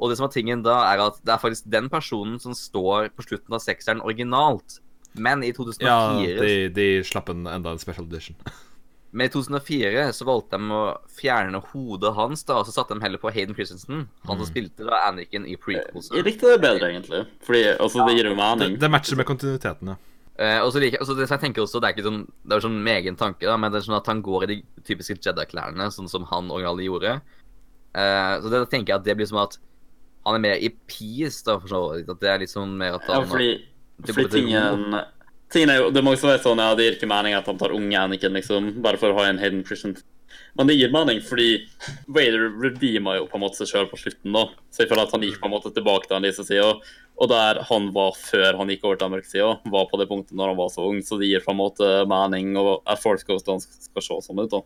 [SPEAKER 2] Og det som er tingen da, er at det er faktisk den personen som står på slutten av sekseren originalt. Men i 2004
[SPEAKER 3] Ja, de, de slapp en enda en special edition.
[SPEAKER 2] Men i 2004 så valgte de å fjerne hodet hans, da, og så satte de heller på Hayden Christensen.
[SPEAKER 1] Mm.
[SPEAKER 2] Han som spilte da Anniken i prequels.
[SPEAKER 1] Jeg likte det bedre, egentlig. Fordi, altså, det gir jo mening.
[SPEAKER 3] Det, det matcher med kontinuiteten, ja.
[SPEAKER 2] Eh, og så liker, og så det, så jeg tenker også, det er ikke sånn, det er sånn med egen tanke, da, men det er sånn at han går i de typiske Jedi-klærne, sånn som han originalt gjorde. Eh, så det tenker jeg at det blir som at han er mer i peace, da, for så vidt. At det er litt sånn mer at
[SPEAKER 1] Ja,
[SPEAKER 2] han
[SPEAKER 1] fordi,
[SPEAKER 2] Det
[SPEAKER 1] fordi
[SPEAKER 2] burde-
[SPEAKER 1] tingen Tingen er jo, Det er mange som vet sånn, ja, det gir ikke mening at han tar unge Anakin, liksom, bare for å ha en hidden Christian. Men det gir mening, fordi Vader redeema jo på en måte seg sjøl på slutten, da. Så jeg føler at han gikk på en måte tilbake til den lyse sida. Og der han var før han gikk over til den mørke sida, var på det punktet når han var så ung. Så det gir på en måte mening, og at folk skal, skal se sånn ut, da.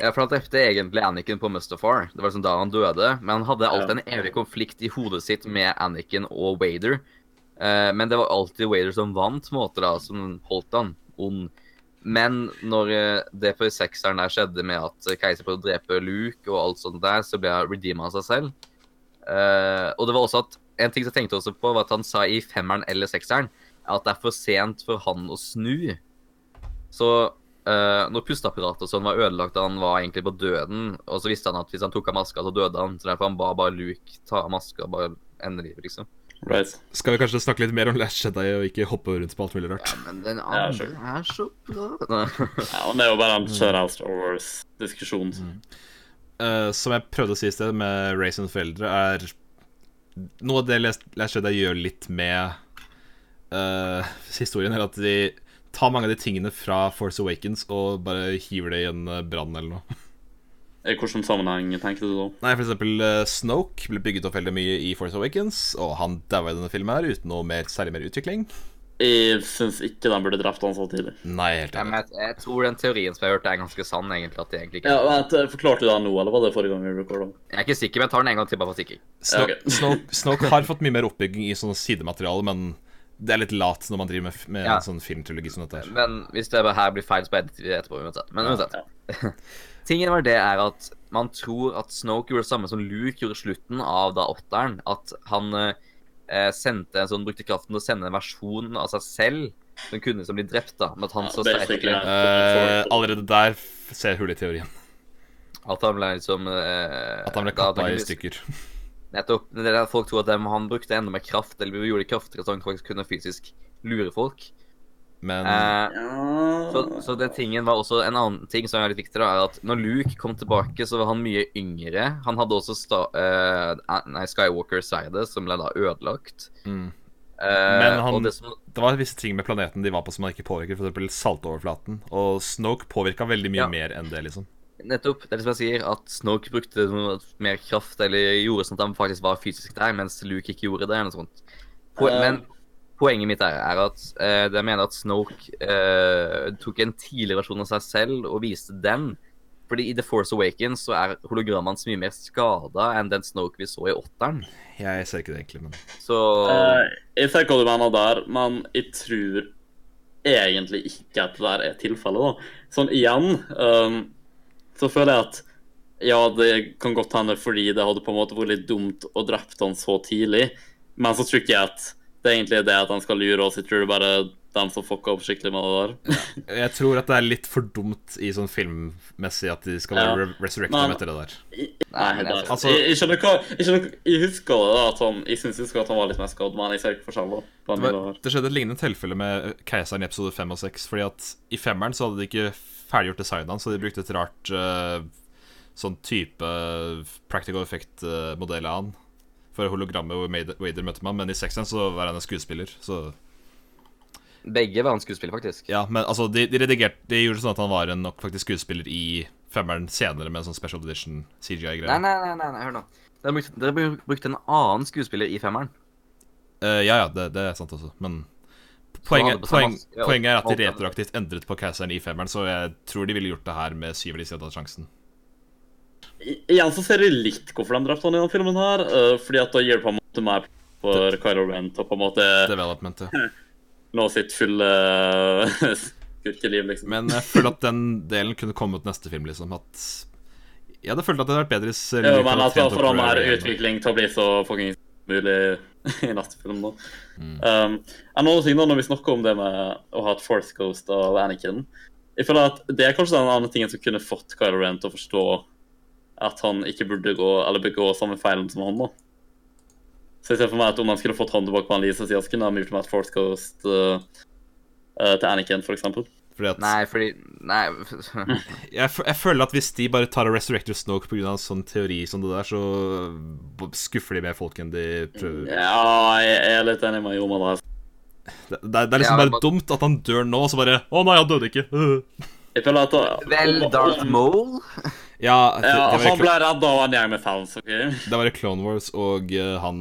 [SPEAKER 2] Ja, for han drepte egentlig Anniken på Mustafar. Det var liksom da han døde. Men han hadde alltid en evig konflikt i hodet sitt med Anniken og Wader. Eh, men det var alltid Wader som vant, på en måte, da, som holdt han ond. Men når eh, det for sekseren der skjedde med at eh, Keiser prøvde å drepe Luke og alt sånt der, så ble han redeema av seg selv. Eh, og det var også at en ting som jeg tenkte også på, var at han sa i femmeren eller sekseren at det er for sent for han å snu. Så Eh, når pusteapparatet og sånn var ødelagt, han var egentlig på døden, og så visste han at hvis han tok av maska, så døde han. Så derfor han ba bare Luke ta av maska og bare ende livet, liksom.
[SPEAKER 1] Right.
[SPEAKER 3] Skal vi kanskje snakke litt mer om Last Jedi og ikke hoppe rundt på alt mulig rart?
[SPEAKER 2] Men den
[SPEAKER 1] Ja,
[SPEAKER 2] andre
[SPEAKER 1] sure.
[SPEAKER 2] er så bra.
[SPEAKER 1] Ja, men det er jo bare en generell Star Wars-diskusjon.
[SPEAKER 3] Eh, som jeg prøvde å si i sted, med Race and Foreldre, er noe av det Last Last Jedi gjør litt med eh, historien, er at de tar mange av de tingene fra Force Awakens og bare hiver det i en eh, brann eller noe.
[SPEAKER 1] I hvilken Eh, sammenheng tenkte du da?
[SPEAKER 3] Nei, for eksempel eh, Snoke ble bygget opp veldig mye i Force Awakens, og han daua i denne filmen her uten noe mer, særlig mer utvikling.
[SPEAKER 1] Jeg syns ikke de burde drept han så tidlig.
[SPEAKER 3] Nei, helt
[SPEAKER 2] Ja, men
[SPEAKER 3] enig.
[SPEAKER 2] jeg, jeg tror den teorien som jeg hørte, er ganske sann, egentlig. At det egentlig ikke
[SPEAKER 1] Ja, vent, eh, Forklarte du det nå, eller var det forrige gang vi recorda?
[SPEAKER 2] Jeg er ikke sikker, men jeg tar den en gang til, bare for sikker.
[SPEAKER 3] Snoke,
[SPEAKER 1] Ja, ok.
[SPEAKER 3] Snoke, Snoke har fått mye mer oppbygging i sånne sidemateriale, men det er litt lat når man driver med, f- med
[SPEAKER 2] Ja.
[SPEAKER 3] en sånn filmtrilogi som dette her.
[SPEAKER 2] Men hvis det her blir feil, så editer vi det etterpå uansett. Men
[SPEAKER 3] Ja.
[SPEAKER 2] uansett. Tingen var det er at man tror at Snoke gjorde det samme som Luke gjorde i slutten av da åtteren. At han eh, eh, sendte en sånn, brukte kraften til å sende en versjon av seg selv som kunne som bli drept, da. Men at han så
[SPEAKER 1] basically,
[SPEAKER 2] sterkere
[SPEAKER 1] ja.
[SPEAKER 3] Eh, allerede der f- ser jeg hullet i teorien.
[SPEAKER 2] At han ble liksom eh,
[SPEAKER 3] At han ble
[SPEAKER 2] da- da
[SPEAKER 3] kappa i
[SPEAKER 2] kunne-
[SPEAKER 3] stykker.
[SPEAKER 2] Nettopp. Det er der folk tror at dem- han brukte enda mer kraft, eller gjorde det kraftigere, så han faktisk kunne fysisk lure folk.
[SPEAKER 3] Men
[SPEAKER 2] Eh,
[SPEAKER 1] Ja.
[SPEAKER 2] Så, så det tingen var også en annen ting som er litt viktig, da, er at når Luke kom tilbake, så var han mye yngre. Han hadde også sta, eh, nei, Skywalker-sverdet, som ble da ødelagt.
[SPEAKER 3] mm,
[SPEAKER 2] Eh,
[SPEAKER 3] Men han-
[SPEAKER 2] og det som,
[SPEAKER 3] det var visse ting med planeten de var på som man ikke påvirker, f.eks. saltoverflaten. Og Snoke påvirka veldig mye
[SPEAKER 2] Ja.
[SPEAKER 3] mer enn det, liksom.
[SPEAKER 2] nettopp, det er det som jeg sier, at Snoke brukte noe mer kraft, eller gjorde sånn at han faktisk var fysisk der, mens Luke ikke gjorde det, eller noe sånt. Po
[SPEAKER 1] Eh.
[SPEAKER 2] men poenget mitt er, er at eh, jeg mener at Snoke eh, tok en tidligere versjon av seg selv og viste den. Fordi i The Force Awakens så er hologrammene hans mye mer skada enn den Snoke vi så i åtteren.
[SPEAKER 3] Jeg ser ikke det egentlig, men
[SPEAKER 2] Så
[SPEAKER 1] Eh, jeg ser hva du mener der, men jeg tror egentlig ikke at det der er tilfellet, da. Sånn igjen ehm, så føler jeg at ja, det kan godt hende fordi det hadde på en måte vært litt dumt å drept han så tidlig, men så tror ikke jeg at det egentlig er det at han skal lure oss, jeg tror det bare dem som fucka opp skikkelig med det der.
[SPEAKER 3] Jeg tror at det er litt for dumt i sånn filmmessig at de skal
[SPEAKER 1] Ja.
[SPEAKER 3] være re- resurrected
[SPEAKER 1] Men-
[SPEAKER 3] etter det der.
[SPEAKER 1] Nei,
[SPEAKER 2] men
[SPEAKER 1] det,
[SPEAKER 2] jeg-
[SPEAKER 1] altså, jeg, jeg skjønner hva Jeg, skjønner, jeg husker det da, at han Jeg synes jeg husker at han var litt mer skadd, men jeg ser ikke forskjell da, på
[SPEAKER 3] Det,
[SPEAKER 1] han
[SPEAKER 3] var,
[SPEAKER 1] var...
[SPEAKER 3] det skjedde et lignende tilfelle med eh, Keiseren i episode 5 og 6. Fordi at i femmeren så hadde de ikke ferdiggjort designen hans, så de brukte et rart eh, sånn type eh, practical effect-modell av han. For hologrammet hvor Made- Wader møtte man, men i sekseren så var han en skuespiller. Så
[SPEAKER 2] Begge var en skuespiller, faktisk.
[SPEAKER 3] ja, men altså, de, de redigerte De gjorde sånn at han var en nok faktisk skuespiller i femmeren senere, med en sånn special edition
[SPEAKER 2] Nei,
[SPEAKER 3] CGI-greie.
[SPEAKER 2] nei, nei, nei, nei, hør nå. Dere brukte, dere bru- brukte en annen skuespiller i femmeren.
[SPEAKER 3] Eh, ja, ja, det, det er sant også, men
[SPEAKER 2] han
[SPEAKER 3] Poenget,
[SPEAKER 2] hadde på seg
[SPEAKER 3] poeng,
[SPEAKER 2] masse- ja,
[SPEAKER 3] poenget er at de
[SPEAKER 2] alt-
[SPEAKER 3] retroaktivt endret på Keiseren i femmeren, så jeg tror de ville gjort det her med syvende hvis de hadde hatt sjansen.
[SPEAKER 1] I- Igjen så ser jeg litt hvorfor de drepte han i den filmen her, eh, fordi at da gir det på en måte mer for Kylo Ren til å på en måte
[SPEAKER 3] developmentet.
[SPEAKER 1] nå sitt fulle skurkeliv, liksom.
[SPEAKER 3] Men jeg føler at den delen kunne kommet neste film, liksom. At jeg hadde følt at det hadde vært bedre hvis
[SPEAKER 1] Ja,
[SPEAKER 3] Luke
[SPEAKER 1] men
[SPEAKER 3] hadde
[SPEAKER 1] altså,
[SPEAKER 3] trent
[SPEAKER 1] for
[SPEAKER 3] opp
[SPEAKER 1] han er
[SPEAKER 3] Ray igjen.
[SPEAKER 1] utvikling til å bli så fucking mulig i neste film, da. Um, en annen ting da, når vi snakker om det med å ha et Force Ghost av Anakin Jeg føler at det er kanskje den andre tingen som kunne fått Kylo Ren til å forstå at han ikke burde gå, eller begå samme feilen som han, da. Så jeg ser for meg at om de skulle fått han tilbake på en Lisa sida, så kunne de gjort med et Force Ghost eh, eh, til Anakin, for eksempel.
[SPEAKER 3] Fordi at
[SPEAKER 2] Nei, fordi Nei.
[SPEAKER 3] jeg, f jeg føler at hvis de bare tar og resurrecter Snoke pga. en sånn teori som det der, så b- skuffer de mer folk enn de
[SPEAKER 2] Mm.
[SPEAKER 3] prøver.
[SPEAKER 1] Ja, jeg jeg er litt enig med Joma der.
[SPEAKER 3] Det, det, det er
[SPEAKER 2] Ja,
[SPEAKER 3] liksom bare
[SPEAKER 2] men-
[SPEAKER 3] dumt at han dør nå, og så bare Å nei, han døde ikke. Øh.
[SPEAKER 1] Jeg føler at eh, da-
[SPEAKER 2] Vel, Darth Maul?
[SPEAKER 3] Ja, det,
[SPEAKER 1] Ja,
[SPEAKER 3] det, var, i
[SPEAKER 1] han
[SPEAKER 3] Clo-
[SPEAKER 1] ble redd av en gjeng med fans, OK?
[SPEAKER 3] det var i Clone Wars, og eh, han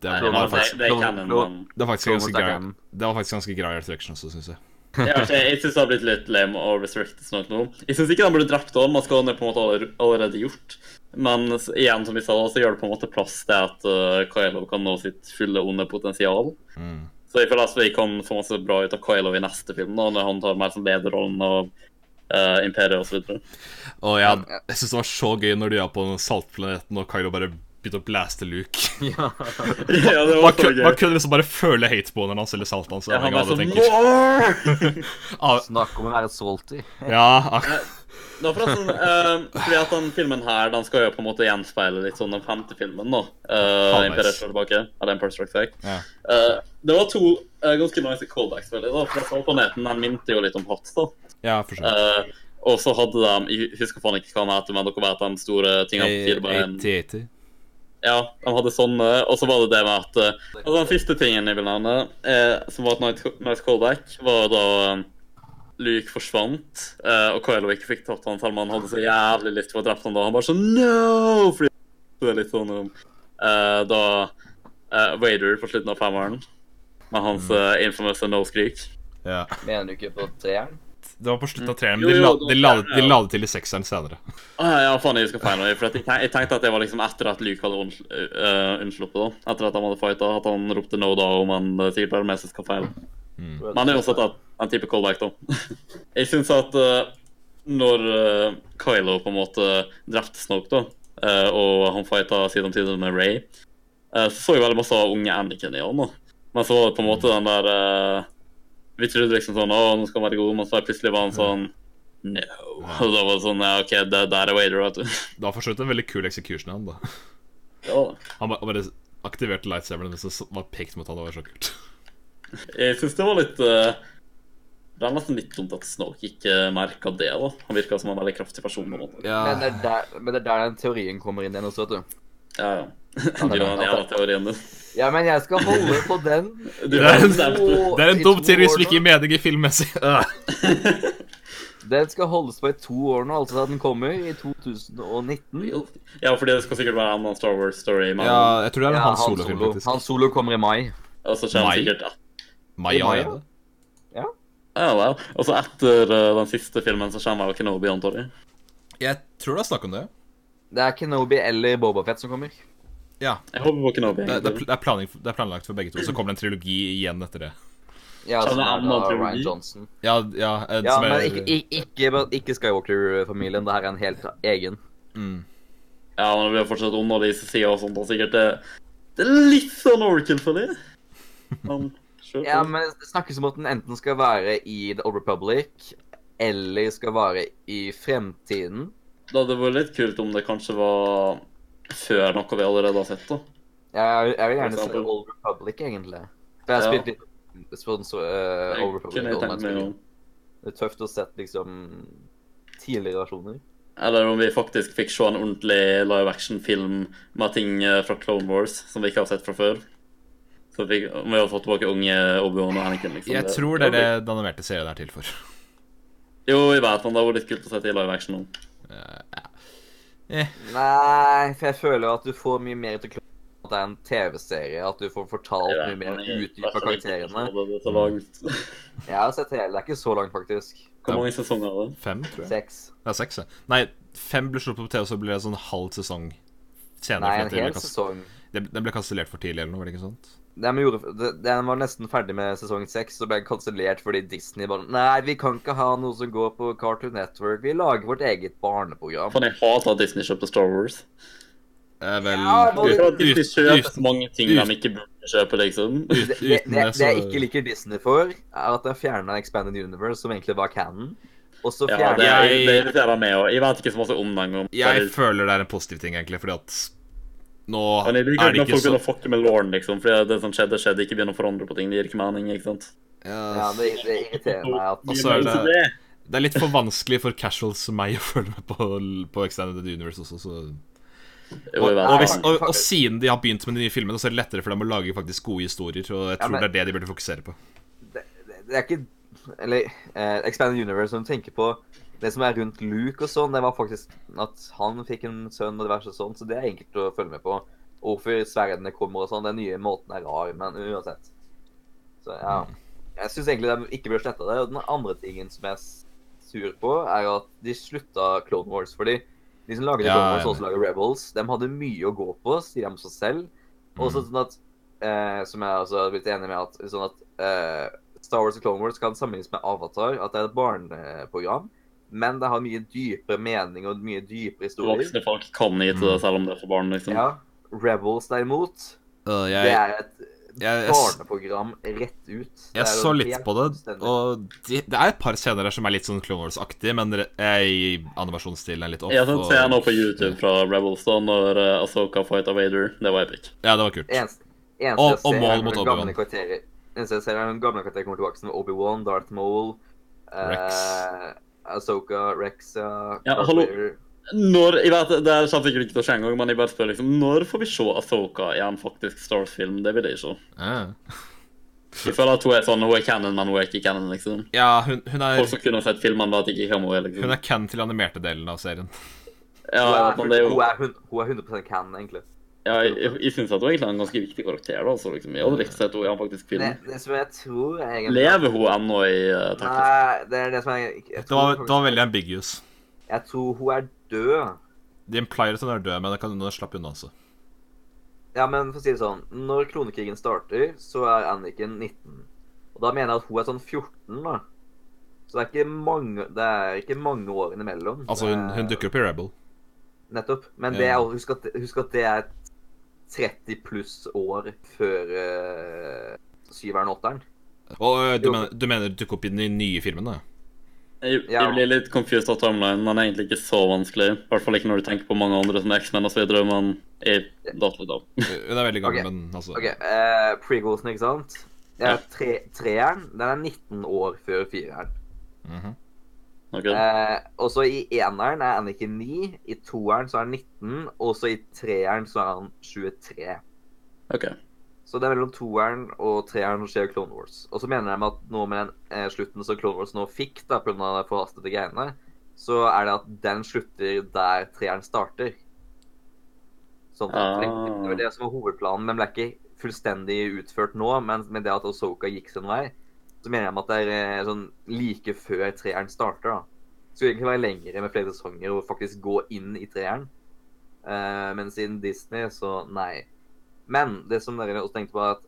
[SPEAKER 3] Det,
[SPEAKER 1] Nei,
[SPEAKER 3] det,
[SPEAKER 1] men
[SPEAKER 3] var
[SPEAKER 1] det,
[SPEAKER 3] faktisk,
[SPEAKER 1] det er canon, men
[SPEAKER 3] det, var faktisk
[SPEAKER 2] Clone
[SPEAKER 3] ganske
[SPEAKER 2] Wars er
[SPEAKER 3] grei,
[SPEAKER 2] canon.
[SPEAKER 3] det var faktisk ganske grei resurrection også, syns jeg.
[SPEAKER 1] Jeg, vet ikke, altså, jeg syns det har blitt litt lame og restricted snart nå. Jeg syns ikke de burde drept han, man skal ha det på en måte aller- allerede gjort. Men s- igjen, som vi sa, så gjør det på en måte plass til at uh, Kylo kan nå sitt fulle onde potensial.
[SPEAKER 3] Mm.
[SPEAKER 1] Så jeg føler at vi kan få masse bra ut av Kylo i neste film, da, når han tar mer som lederrollen av uh, imperiet osv.
[SPEAKER 3] Og jeg, jeg syns det var så gøy når de var på den saltplaneten og Kylo bare begynte å blaste Luke.
[SPEAKER 2] Ja.
[SPEAKER 1] ja, det
[SPEAKER 3] Man
[SPEAKER 1] var så
[SPEAKER 3] kunne, man
[SPEAKER 1] gøy.
[SPEAKER 3] kunne liksom bare føle hateboner når han selger salt. Altså,
[SPEAKER 1] Ja, han
[SPEAKER 3] ja,
[SPEAKER 1] er sånn
[SPEAKER 3] tenker.
[SPEAKER 1] «Åh!»
[SPEAKER 3] Ah,
[SPEAKER 2] Snakk om å være salty.
[SPEAKER 3] ja, ah,
[SPEAKER 1] Det var forresten, eh, fordi at den filmen her, den skal jo på en måte gjenspeile litt sånn den femte filmen nå. Uh,
[SPEAKER 3] Halvveis.
[SPEAKER 1] Imperiet slår tilbake, eller Empire Strikes Back.
[SPEAKER 3] ja.
[SPEAKER 1] Eh, det var to eh, ganske nice callbacks, veldig, da, for jeg så planeten, den minte jo litt om Hatt, da.
[SPEAKER 3] ja, for sure.
[SPEAKER 1] Eh, og så hadde de, jeg husker faen ikke hva han heter, men dere vet de store tingene på fire bein.
[SPEAKER 3] 8080.
[SPEAKER 1] Ja, de hadde sånne, og så var det det med at eh, altså Den siste tingen jeg vil nevne, eh, som var et nice- nice callback, var da eh, Luke forsvant, eh, og Kylo ikke fikk tatt han selv om han hadde så jævlig lyst til å drepe han da. Han bare sånn No! Fordi det er litt sånn om eh, da eh, Vader på slutten av femmeren, med hans eh, infamous no-skrik.
[SPEAKER 3] Ja.
[SPEAKER 2] Mener du ikke på treeren?
[SPEAKER 3] Det var på slutten av treeren,
[SPEAKER 1] Mm. Jo,
[SPEAKER 3] men de la,
[SPEAKER 1] jo,
[SPEAKER 3] de
[SPEAKER 1] det
[SPEAKER 3] la,
[SPEAKER 1] var
[SPEAKER 3] det-
[SPEAKER 1] det,
[SPEAKER 3] de
[SPEAKER 1] ja.
[SPEAKER 3] la det til i sekseren senere.
[SPEAKER 1] Ah, ja, faen, jeg husker feil nå. For at jeg, tenk, jeg tenkte at det var liksom etter at Luke hadde unnsl- eh, unnsluppet, da. Etter at han hadde fighta, at han ropte no da om han eh, sikkert bare med seg skal feil. Men det er uansett at en type callback, da. jeg syns at eh, når eh, Kylo på en måte drepte Snoke, da, eh, og han fighta side om side med Ray, så så jeg veldig masse av unge Anakin i han, da. Men så var det på en måte den der eh, Vi trodde liksom sånn Å, nå skal han være god, men så plutselig var han sånn No. Og da var det sånn Ja, OK, det der er Wader, vet du.
[SPEAKER 3] Det var for så vidt en veldig kul execution av han, da.
[SPEAKER 1] Ja, da.
[SPEAKER 3] Han ba- han bare aktiverte lightsaberen mens den var pekt mot han, det var så kult.
[SPEAKER 1] Jeg syns det var litt eh, Det er nesten litt dumt at Snoke ikke merka det, da. Han virka som en veldig kraftig person, på en måte.
[SPEAKER 2] Men eh, det, er der, men det er der den teorien kommer inn igjen også, vet du.
[SPEAKER 1] Ja, ja. Du har den jævla teorien din.
[SPEAKER 2] Ja, men jeg skal holde på den.
[SPEAKER 1] Du
[SPEAKER 3] Det er
[SPEAKER 1] har
[SPEAKER 3] en-
[SPEAKER 1] den nevnt.
[SPEAKER 3] Det er en dum teori som ikke gir mening i filmmessig. Ah.
[SPEAKER 2] Den skal holdes på i to år nå, altså at den kommer i 2019.
[SPEAKER 1] Ja, fordi det skal sikkert være en annen Star Wars-story. Men
[SPEAKER 3] Ja, jeg tror det er en
[SPEAKER 2] Ja,
[SPEAKER 3] Han
[SPEAKER 2] Han
[SPEAKER 3] Solo-film,
[SPEAKER 2] Solo.
[SPEAKER 3] faktisk.
[SPEAKER 2] Han Solo kommer i mai.
[SPEAKER 1] Og så kommer
[SPEAKER 3] Mai.
[SPEAKER 1] sikkert et-
[SPEAKER 3] Maya,
[SPEAKER 2] Maya?
[SPEAKER 3] er det?
[SPEAKER 1] ja, vel. Og så etter eh, den siste filmen så kommer jo Kenobi, antar jeg.
[SPEAKER 3] Jeg tror det er snakk om det.
[SPEAKER 2] Det er Kenobi eller Bobafett som kommer.
[SPEAKER 3] Ja.
[SPEAKER 1] Jeg håper på Kenobi.
[SPEAKER 3] Det, det, er
[SPEAKER 1] egentlig.
[SPEAKER 3] pl- det, er planlagt, det er planlagt for begge to. Så kommer det en trilogi igjen etter det.
[SPEAKER 2] Ja,
[SPEAKER 1] Så
[SPEAKER 2] som
[SPEAKER 1] det er
[SPEAKER 2] er da
[SPEAKER 1] annen teori?
[SPEAKER 2] Ryan Johnson.
[SPEAKER 3] Ja, ja, eh,
[SPEAKER 2] Ja,
[SPEAKER 3] som
[SPEAKER 2] men
[SPEAKER 3] er-
[SPEAKER 2] ikke, ikke, ikke, ikke Skywalker-familien. Det her er en helt egen.
[SPEAKER 3] Mm.
[SPEAKER 1] Ja, men det blir fortsatt ond av disse sider og sånt, og sikkert det, det er litt sånn overkill for dem. Men Sure,
[SPEAKER 2] Ja, men det snakkes om at den enten skal være i The Old Republic, eller skal være i fremtiden.
[SPEAKER 1] Det hadde vært litt kult om det kanskje var før noe vi allerede har sett. da.
[SPEAKER 2] Jeg, jeg vil gjerne
[SPEAKER 1] For
[SPEAKER 2] se
[SPEAKER 1] eksempel.
[SPEAKER 2] Old Republic, egentlig. For jeg har
[SPEAKER 1] Ja.
[SPEAKER 2] spilt litt sponsor, uh, Old
[SPEAKER 1] Jeg
[SPEAKER 2] Republic.
[SPEAKER 1] kunne jeg tenkt meg
[SPEAKER 2] online-spill.
[SPEAKER 1] om.
[SPEAKER 2] Det er tøft å se liksom tidligere versjoner.
[SPEAKER 1] Eller om vi faktisk fikk se en ordentlig live action-film med ting eh, fra Clone Wars som vi ikke har sett fra før. Så vi, om vi hadde fått tilbake unge Obi-Wan og Anakin, liksom.
[SPEAKER 3] Jeg tror det er det den animerte serien er til for.
[SPEAKER 1] Jo, jeg vet, men det hadde vært litt kult å se det i live action nå.
[SPEAKER 2] Nei, for jeg føler at du får mye mer til klokka at det er en TV-serie. At du får fortalt mye mer utdypa karakterene. Mm.
[SPEAKER 1] Det tar langt.
[SPEAKER 2] Jeg har sett hele, det er ikke så langt, faktisk.
[SPEAKER 1] Hvor mange sesonger er det?
[SPEAKER 3] Fem, tror jeg.
[SPEAKER 2] Seks.
[SPEAKER 3] Det er seks, ja. Nei, fem ble slått på TV, så ble det sånn halv sesong senere.
[SPEAKER 2] Nei,
[SPEAKER 3] for at
[SPEAKER 2] en
[SPEAKER 3] det ble
[SPEAKER 2] hel
[SPEAKER 3] kast-
[SPEAKER 2] sesong.
[SPEAKER 3] det- Den ble kansellert for tidlig, eller noe? var det ikke sånt?
[SPEAKER 2] Den, gjorde, det- den var nesten ferdig med sesong seks, så ble den kansellert fordi Disney bare Nei, vi kan ikke ha noe som går på Cartoon Network. Vi lager vårt eget barneprogram.
[SPEAKER 1] Faen, jeg hater at Disney kjøpte Star Wars.
[SPEAKER 3] Eh, vel
[SPEAKER 2] Ja, sånn-
[SPEAKER 1] Jeg
[SPEAKER 2] både-
[SPEAKER 3] ut,
[SPEAKER 1] tror at Disney
[SPEAKER 3] ut,
[SPEAKER 1] kjøper
[SPEAKER 3] uten,
[SPEAKER 1] mange ting de ikke burde kjøpe, liksom.
[SPEAKER 2] Det,
[SPEAKER 3] ut,
[SPEAKER 2] det,
[SPEAKER 3] uten
[SPEAKER 2] det,
[SPEAKER 3] det,
[SPEAKER 2] det
[SPEAKER 3] så
[SPEAKER 2] jeg ikke liker Disney for, er at de fjerna Expanded Universe, som egentlig var canon. Og så
[SPEAKER 1] Ja,
[SPEAKER 2] fjerna
[SPEAKER 1] det, er,
[SPEAKER 3] Jeg-
[SPEAKER 1] det irriterer meg òg. Jeg vet ikke så masse om den engang.
[SPEAKER 3] Jeg føler det er en positiv ting, egentlig, fordi at nå
[SPEAKER 1] Men jeg liker
[SPEAKER 3] er det
[SPEAKER 1] ikke når
[SPEAKER 3] ikke
[SPEAKER 1] folk
[SPEAKER 3] så
[SPEAKER 1] begynner å fucke med lauren, liksom. Fordi det som skjedde, skjedde. Ikke begynn å forandre på ting. Det gir ikke mening, ikke sant.
[SPEAKER 2] Ja,
[SPEAKER 3] Ja,
[SPEAKER 2] det, det irriterer meg at
[SPEAKER 3] Og så er det- Det er litt for vanskelig for casuals som meg å følge med på, på Extended Universe også, så
[SPEAKER 1] Jo,
[SPEAKER 3] og,
[SPEAKER 1] jeg vet
[SPEAKER 3] og,
[SPEAKER 1] det.
[SPEAKER 3] hvis, og, og siden de har begynt med de nye filmene, så er det lettere for dem å lage faktisk gode historier. Og jeg tror
[SPEAKER 2] men-
[SPEAKER 3] det er det de burde fokusere på.
[SPEAKER 2] det, det- det er ikke Eller eh, Expanded Universe, som tenker på det som er rundt Luke og sånn, det var faktisk at han fikk en sønn og diverse sånn, så det er enkelt å følge med på. Og Hvorfor sverdene kommer og sånn. Den nye måten er rar, men uansett. Så ja.
[SPEAKER 3] Mm.
[SPEAKER 2] Jeg syns egentlig de ikke burde slette det. Og den andre tingen som jeg er sur på, er jo at de slutta Clone Wars. Fordi de som lagde
[SPEAKER 3] Ja,
[SPEAKER 2] Clone Wars,
[SPEAKER 3] jeg
[SPEAKER 2] og som lager Rebels, de hadde mye å gå på, sier de om seg selv. Og
[SPEAKER 3] Mm.
[SPEAKER 2] så sånn at eh, Som jeg også har blitt enig med, at, sånn at eh, Star Wars og Clone Wars kan sammenlignes med Avatar, at det er et barneprogram. Men det har mye dypere mening og mye dypere historier.
[SPEAKER 1] Voksne folk kan gi til
[SPEAKER 3] Mm.
[SPEAKER 1] det, selv om det er for barn, liksom.
[SPEAKER 2] Ja. Rebels, derimot,
[SPEAKER 3] Øh, jeg,
[SPEAKER 2] det
[SPEAKER 3] jeg,
[SPEAKER 2] er et
[SPEAKER 3] jeg, s-
[SPEAKER 2] barneprogram rett ut. Det er
[SPEAKER 3] jeg
[SPEAKER 2] jo
[SPEAKER 3] så litt
[SPEAKER 2] helt
[SPEAKER 3] på det,
[SPEAKER 2] fullstendig.
[SPEAKER 3] og de, det er et par scener der som er litt sånn Clone Wars-aktig, men re- jeg, animasjonsstilen er litt off.
[SPEAKER 1] sånn Jeg har sett
[SPEAKER 3] og-
[SPEAKER 1] scenen på YouTube fra Rebels da, når eh, Ahsoka fighta Vader. Det var epic.
[SPEAKER 3] Ja, det var kult.
[SPEAKER 2] Eneste, eneste
[SPEAKER 3] Og-
[SPEAKER 2] jeg
[SPEAKER 3] og
[SPEAKER 2] ser
[SPEAKER 3] mål
[SPEAKER 2] er
[SPEAKER 3] mot
[SPEAKER 2] gamle
[SPEAKER 3] Obi-Wan.
[SPEAKER 2] karakterer- Eneste jeg ser er den gamle karakteren kommer tilbake som Obi-Wan, Darth Maul,
[SPEAKER 3] Rex.
[SPEAKER 2] eh, Ahsoka, Rex ja,
[SPEAKER 1] Ja,
[SPEAKER 2] Darth
[SPEAKER 1] hallo.
[SPEAKER 2] Vader.
[SPEAKER 1] Når, jeg vet, Det her kommer sikkert ikke til å skje engang, men jeg bare spør liksom Når får vi se Ahsoka i en faktisk Star Wars-film? Det vil jeg ikke.
[SPEAKER 3] Ja.
[SPEAKER 1] Jeg føler at hun er sånn Hun er canon, men hun er ikke canon, liksom.
[SPEAKER 3] Ja, hun, hun, er,
[SPEAKER 1] Folk som kunne ha sett filmene, vet ikke hvem hun er,
[SPEAKER 3] hun
[SPEAKER 1] liksom.
[SPEAKER 3] er Ken til animerte delen av serien.
[SPEAKER 1] Ja,
[SPEAKER 2] Hun er-
[SPEAKER 1] men det er jo,
[SPEAKER 2] hun er hun- hun er 100 canon, egentlig.
[SPEAKER 1] ja, jeg, jeg, jeg syns at hun egentlig er en ganske viktig karakter. da, så liksom, Jeg hadde likt å sett henne i en faktisk film.
[SPEAKER 2] Det, det som jeg tror er egentlig
[SPEAKER 1] Lever hun ennå i uh, Texas?
[SPEAKER 2] Nei, det er det som jeg, jeg,
[SPEAKER 3] Det var,
[SPEAKER 2] tror,
[SPEAKER 3] det var veldig ambiguous.
[SPEAKER 2] jeg tror hun er død.
[SPEAKER 3] De implier at hun er død, men hun kan hun slapp unna også.
[SPEAKER 2] Ja, men for å si det sånn, når klonekrigen starter, så er Anniken 19. Og da mener jeg at hun er sånn 14, da. Så det er ikke mange, det er ikke mange årene imellom.
[SPEAKER 3] Altså, hun,
[SPEAKER 2] Det
[SPEAKER 3] hun
[SPEAKER 2] er-
[SPEAKER 3] dukker opp i Rebel.
[SPEAKER 2] Nettopp. Men
[SPEAKER 3] Ja.
[SPEAKER 2] det er, husk, at, husk at det er 30 pluss år før uh, syveren og åtteren.
[SPEAKER 3] Og øh, du
[SPEAKER 2] Jo.
[SPEAKER 3] mener, du mener dukker opp i de nye filmene?
[SPEAKER 1] Jeg,
[SPEAKER 2] Ja.
[SPEAKER 1] jeg blir litt confused av timeline, men egentlig ikke så vanskelig. I hvert fall ikke når du tenker på mange andre som X-Men og så videre, men jeg datt litt av.
[SPEAKER 3] Hun er veldig gammel,
[SPEAKER 2] Ok.
[SPEAKER 3] men altså
[SPEAKER 2] OK, uh, prequelsen, ikke sant? Det
[SPEAKER 1] Ja.
[SPEAKER 2] er tre, treeren. Den er 19 år før fireren.
[SPEAKER 3] mhm.
[SPEAKER 1] Ok?
[SPEAKER 2] Eh, og så i eneren er Anniken 9, i toeren så er han 19, og så i treeren så er han 23.
[SPEAKER 1] Ok.
[SPEAKER 2] Så det er mellom toeren og treeren som skjer Clone Wars. Og så mener de at nå med den eh, slutten som Clone Wars nå fikk, da, pga. de forhastede greiene, så er det at den slutter der treeren starter. Sånn
[SPEAKER 1] Ah.
[SPEAKER 2] at det- Det var det som var hovedplanen, men ble ikke fullstendig utført nå. Men med det at Osoka gikk sin vei, så mener de at det er eh, sånn like før treeren starter, da. Det skulle egentlig være lengre med flere sesonger og faktisk gå inn i treeren. Eh, men siden Disney, så nei. Men det som dere også tenkte på, er at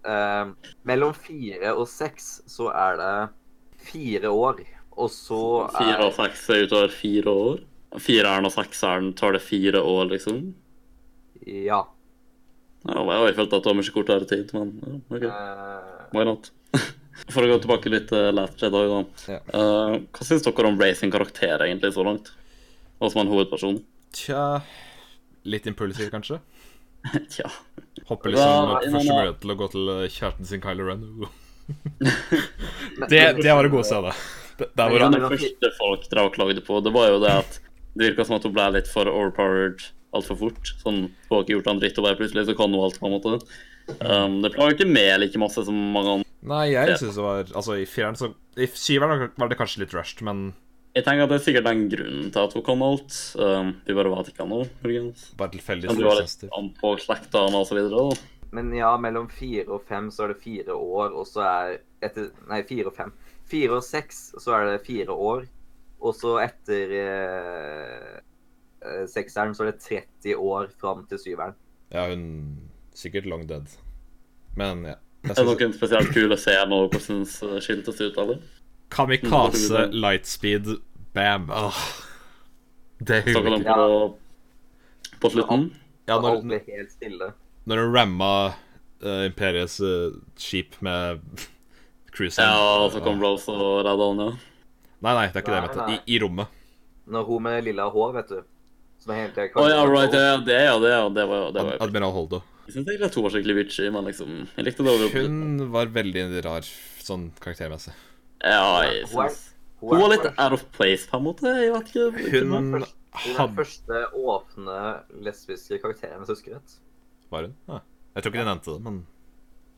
[SPEAKER 2] eh, mellom fire og seks så er det fire år. Og så
[SPEAKER 1] Fire
[SPEAKER 2] er
[SPEAKER 1] og seks er utover fire år. Fireren og sekseren tar det fire år, liksom.
[SPEAKER 2] Ja.
[SPEAKER 1] Ja, jeg har jo følt at det var mye kortere tid, men ja, OK.
[SPEAKER 2] Eh,
[SPEAKER 1] Why not? For å gå tilbake litt til Last Jedi, da.
[SPEAKER 3] Ja.
[SPEAKER 1] Eh, hva syns dere om Ray sin karakter egentlig så langt? Og som en hovedperson?
[SPEAKER 3] Tja Litt impulsiv, kanskje?
[SPEAKER 1] Tja.
[SPEAKER 3] Hopper liksom
[SPEAKER 1] Ja,
[SPEAKER 3] opp
[SPEAKER 1] nei,
[SPEAKER 3] første
[SPEAKER 1] nei, nei.
[SPEAKER 3] mulighet til å gå til eh, kjæresten sin, Kylo Ren. Uh.
[SPEAKER 2] men-
[SPEAKER 3] Det, det var det gode stedet. Det- Der hvor
[SPEAKER 1] Det
[SPEAKER 3] han
[SPEAKER 1] var det første folk drev og klagde på. Det var jo det at det virka som at hun ble litt for overpowered altfor fort. Sånn, Hun har ikke gjort en dritt, og bare plutselig så kan hun alt, på en måte. Um, det plager ikke meg like masse som mange andre.
[SPEAKER 3] Nei, jeg syns det var Altså, i fireren så I syveren var det kanskje litt rushed, men
[SPEAKER 1] Jeg tenker at det er sikkert den grunnen til at hun kan alt. Um, vi bare vet ikke ennå, muligens.
[SPEAKER 3] bare tilfeldig
[SPEAKER 1] Men det var litt
[SPEAKER 3] sensitiv.
[SPEAKER 1] an på slektene og så videre, da.
[SPEAKER 2] Men ja, mellom fire og fem så er det fire år, og så er etter, Nei, fire og fem. Fire og seks så er det fire år, og så etter eh, eh, sekseren så er det 30 år fram til syveren.
[SPEAKER 3] Ja, hun Sikkert long dead. Men ja. Jeg
[SPEAKER 1] Er det
[SPEAKER 3] synes,
[SPEAKER 1] noen spesielt kule scener og hvordan eh, skiltes det ut, eller?
[SPEAKER 3] kamikaze,
[SPEAKER 1] Mm.
[SPEAKER 3] lightspeed, bam. Åh. Det
[SPEAKER 1] Snakker
[SPEAKER 3] hyller
[SPEAKER 1] de
[SPEAKER 3] ikke.
[SPEAKER 1] på, på slutten?
[SPEAKER 3] Ja,
[SPEAKER 2] og alt
[SPEAKER 3] når,
[SPEAKER 2] blir helt stille.
[SPEAKER 3] når hun ramma eh, Imperiets eh, skip med cruising
[SPEAKER 1] Ja, så kom Rose og redda han, ja.
[SPEAKER 3] Nei, nei, det er ikke det jeg mente.
[SPEAKER 2] Nei, nei.
[SPEAKER 3] I, I rommet.
[SPEAKER 2] Når hun med lilla hår, vet du. Som er helt
[SPEAKER 1] Å ja, right, ja, det, ja, det, ja, det var jo det.
[SPEAKER 3] Ad-
[SPEAKER 1] Var,
[SPEAKER 3] Admiral Holdo.
[SPEAKER 1] jeg syns egentlig at hun var skikkelig witchy, men liksom Jeg likte det. over-
[SPEAKER 3] Hun var veldig rar sånn karaktermessig.
[SPEAKER 1] Ja, jeg
[SPEAKER 2] Hun er-
[SPEAKER 1] synes Hun var litt out of place, på en måte. Jeg vet ikke.
[SPEAKER 3] Hun
[SPEAKER 2] Hun er Hun er den
[SPEAKER 3] hadde
[SPEAKER 2] første åpne lesbiske karakteren, hvis jeg husker rett.
[SPEAKER 3] Var hun? Ja. Jeg tror ikke de nevnte det, men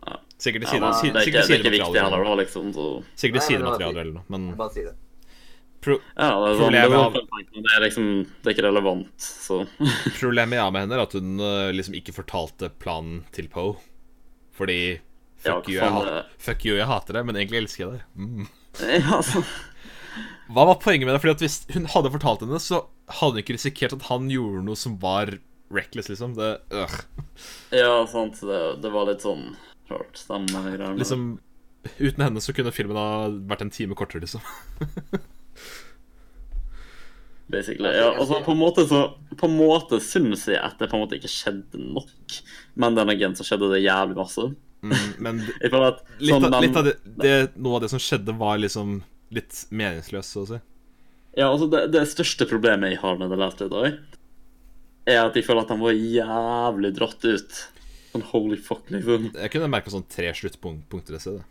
[SPEAKER 1] Ja.
[SPEAKER 3] Sikkert i
[SPEAKER 1] Ja,
[SPEAKER 3] side,
[SPEAKER 1] men
[SPEAKER 3] side,
[SPEAKER 1] det, er ikke,
[SPEAKER 3] sikkert i
[SPEAKER 1] det er ikke viktig
[SPEAKER 3] sidematerialer.
[SPEAKER 1] heller,
[SPEAKER 3] eller noe.
[SPEAKER 1] da, liksom. Så.
[SPEAKER 3] Sikkert i
[SPEAKER 2] Nei, men det var
[SPEAKER 3] sidematerialer eller noe, men
[SPEAKER 2] Bare si det.
[SPEAKER 3] pro
[SPEAKER 1] Ja, det er, sånn, det,
[SPEAKER 3] Problemet
[SPEAKER 1] var,
[SPEAKER 3] av-
[SPEAKER 1] det er liksom Det er ikke relevant, så
[SPEAKER 3] problemet jeg har med henne, er at hun eh, liksom ikke fortalte planen til Poe. Fordi
[SPEAKER 1] Ja,
[SPEAKER 3] fuck, you, jeg
[SPEAKER 1] sånn,
[SPEAKER 3] hat-
[SPEAKER 1] eh.
[SPEAKER 3] fuck you, jeg hater deg, men egentlig elsker jeg deg. Mm.
[SPEAKER 1] Ja, sånn. så
[SPEAKER 3] Hva var poenget med det? Fordi at Hvis hun hadde fortalt henne, så hadde hun ikke risikert at han gjorde noe som var reckless, liksom. Det, øh.
[SPEAKER 1] Ja, sant. Det, det var litt sånn rart, de greiene.
[SPEAKER 3] liksom Uten henne så kunne filmen ha vært en time kortere, liksom.
[SPEAKER 1] Basically. Ja, altså, på en måte så På en måte syns jeg at det på en måte ikke skjedde nok, men den agenten så skjedde det jævlig masse.
[SPEAKER 3] Mm, Men
[SPEAKER 1] Jeg føler at
[SPEAKER 3] litt
[SPEAKER 1] sånn
[SPEAKER 3] av,
[SPEAKER 1] den-
[SPEAKER 3] litt av det, det, noe av det som skjedde, var liksom litt meningsløst, så å si.
[SPEAKER 1] Ja, altså, det, det største problemet jeg har med The Last Jedi, er at jeg føler at den var jævlig dratt ut. Sånn holy fuck, liksom.
[SPEAKER 3] Jeg kunne merka sånn tre sluttpunkter et sted. da.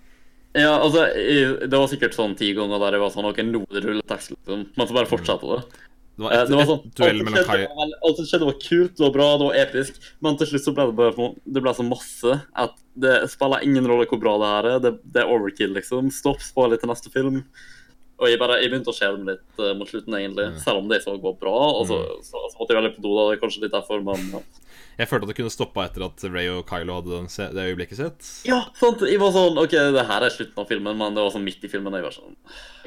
[SPEAKER 1] Ja, altså, jeg, det var sikkert sånn ti ganger der jeg var sånn OK, nå er det rulletekst, liksom. Men så bare fortsatte det.
[SPEAKER 3] Det var
[SPEAKER 1] Eh,
[SPEAKER 3] et,
[SPEAKER 1] Det var sånn,
[SPEAKER 3] et duell
[SPEAKER 1] alt som
[SPEAKER 3] mellom
[SPEAKER 1] skjedde
[SPEAKER 3] Kai
[SPEAKER 1] var vel- Alt som skjedde var kult, det var bra, det var episk, men til slutt så ble det bare for- det ble så masse at det spiller ingen rolle hvor bra det her er. Det, det er overkill, liksom. Stopp, spar litt til neste film. Og jeg bare, jeg begynte å skjelve litt eh, mot slutten, egentlig. Selv om det jeg så var bra. Og så,
[SPEAKER 3] Mm.
[SPEAKER 1] så, så måtte jeg veldig på do, da. Det er kanskje litt derfor, men ja.
[SPEAKER 3] Jeg følte at det kunne stoppa etter at Ray og Kylo hadde den se- det øyeblikket sitt.
[SPEAKER 1] ja, sant. Jeg var sånn OK, det her er slutten av filmen, men det var sånn midt i filmen. og Jeg var sånn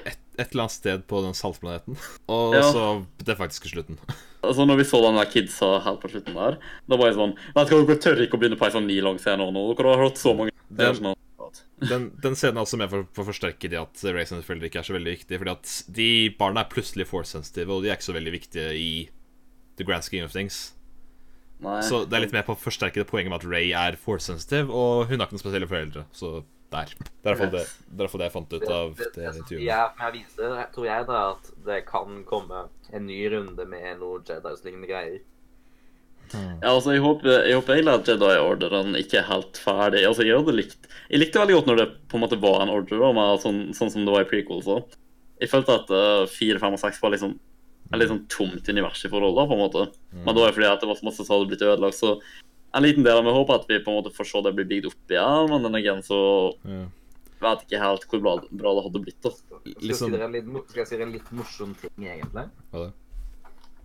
[SPEAKER 3] Et, et eller annet sted på den saltplaneten. Og
[SPEAKER 1] Ja.
[SPEAKER 3] så det faktiske slutten.
[SPEAKER 1] Altså, når vi så den der kidsa helt på slutten der, da var jeg sånn Vet du hva, dere tør ikke å begynne på ei sånn ni lang scene nå. Dere har hørt så mange
[SPEAKER 3] Den-
[SPEAKER 1] sånn, at-
[SPEAKER 3] Den, den scenen er også med for, for å forsterke det at Ray sine foreldre ikke er så veldig viktige. Fordi at de barna er plutselig force-sensitive, og de er ikke så veldig viktige i the grand scheme of things.
[SPEAKER 1] Nei.
[SPEAKER 3] Så det er litt mer på å forsterke det poenget med at Ray er force-sensitive, og hun har ikke noen spesielle foreldre. Så der. Det er iallfall det, det, er i hvert fall det jeg fant ut av
[SPEAKER 2] Det-
[SPEAKER 3] det
[SPEAKER 2] det-
[SPEAKER 3] intervjuet.
[SPEAKER 2] Jeg, jeg viser, tror jeg da at det kan komme en ny runde med noe Jedi's-lignende greier.
[SPEAKER 1] Ja, altså, jeg håper, jeg håper egentlig at Jedi Orderen ikke er helt ferdig. Altså, jeg hadde likt Jeg likte veldig godt når det på en måte var en order, da, med sånn, sånn som det var i prequels òg. Jeg følte at eh, fire, fem og seks var liksom et litt sånn tomt univers i forhold, da, på en måte.
[SPEAKER 3] Mm.
[SPEAKER 1] Men det var jo fordi at det var så masse som hadde blitt ødelagt, så en liten del av meg håper at vi på en måte får se det bli bygd opp igjen, men den igjen så
[SPEAKER 3] Ja.
[SPEAKER 1] vet ikke helt hvor bra, bra det hadde blitt. da.
[SPEAKER 2] Skal, jeg si
[SPEAKER 3] Liksom-
[SPEAKER 2] dere en litt, mo- skal jeg si dere en litt morsom ting, egentlig?
[SPEAKER 3] Hva da?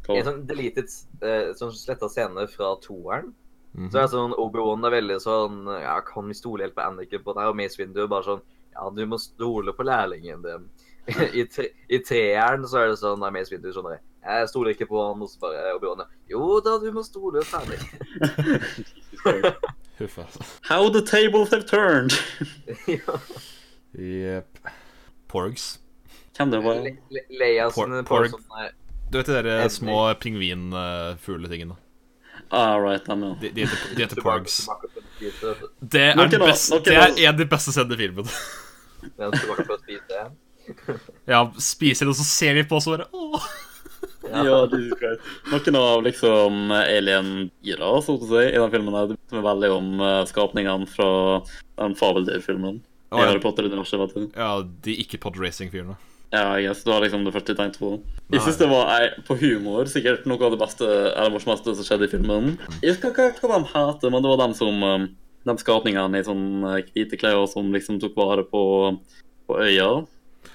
[SPEAKER 1] Hva-
[SPEAKER 2] En sånn deleted, eh, sånn sletta scene fra toeren.
[SPEAKER 3] Mhm.
[SPEAKER 2] Så er det sånn, Obi-Wan er veldig sånn ja, Kan vi stole helt på Anniken på det her? Og Mace Windu er bare sånn Ja, du må stole på lærlingen din. I, tre, I treeren så er det sånn Nei, Mace Windu sånn der, Jeg stoler ikke på han. Og så bare Obi-Wan Jo da, du må stole på Anniken.
[SPEAKER 3] Huff, altså.
[SPEAKER 1] How the tables have turned!
[SPEAKER 2] Ja.
[SPEAKER 3] Jepp. Porgs.
[SPEAKER 1] Hvem det var?
[SPEAKER 2] Le- Le- Leia
[SPEAKER 3] Por-
[SPEAKER 2] sine
[SPEAKER 3] porg.
[SPEAKER 2] porg.
[SPEAKER 3] Du vet de der eh,
[SPEAKER 2] Enig.
[SPEAKER 3] små pingvinfugletingene?
[SPEAKER 1] Ah, right, den, ja.
[SPEAKER 3] De, de heter, de heter
[SPEAKER 2] Tilbake-
[SPEAKER 3] Porgs.
[SPEAKER 2] tilbake til spise, vet du.
[SPEAKER 3] Det er,
[SPEAKER 1] Nok en
[SPEAKER 3] den
[SPEAKER 1] annen-
[SPEAKER 3] beste,
[SPEAKER 1] nok en
[SPEAKER 3] det er
[SPEAKER 1] annen.
[SPEAKER 3] en av de beste scenene i filmen.
[SPEAKER 2] Men tilbake til å spise igjen.
[SPEAKER 3] Ja, spiser det, og så ser de på oss og bare Åh.
[SPEAKER 1] ja Jesus Christ. Noen av liksom alien-dyra, så å si, i den filmen her, det minner meg veldig om eh, skapningene fra den fabeldyrfilmen.
[SPEAKER 3] Å,
[SPEAKER 1] I
[SPEAKER 3] ja.
[SPEAKER 1] Harry Potter-universet, vet du.
[SPEAKER 3] Ja, de ikke-podracing-fyrene.
[SPEAKER 1] Ja, jeg guess. Det var liksom det første jeg tenkte på. Jeg
[SPEAKER 3] Nei.
[SPEAKER 1] synes det var ei- på humor sikkert noe av det beste eller morsomste som skjedde i filmen. Jeg husker ikke hva de heter, men det var dem som um, De skapningene i sånne eh, hvite klær som liksom tok vare på, på øya.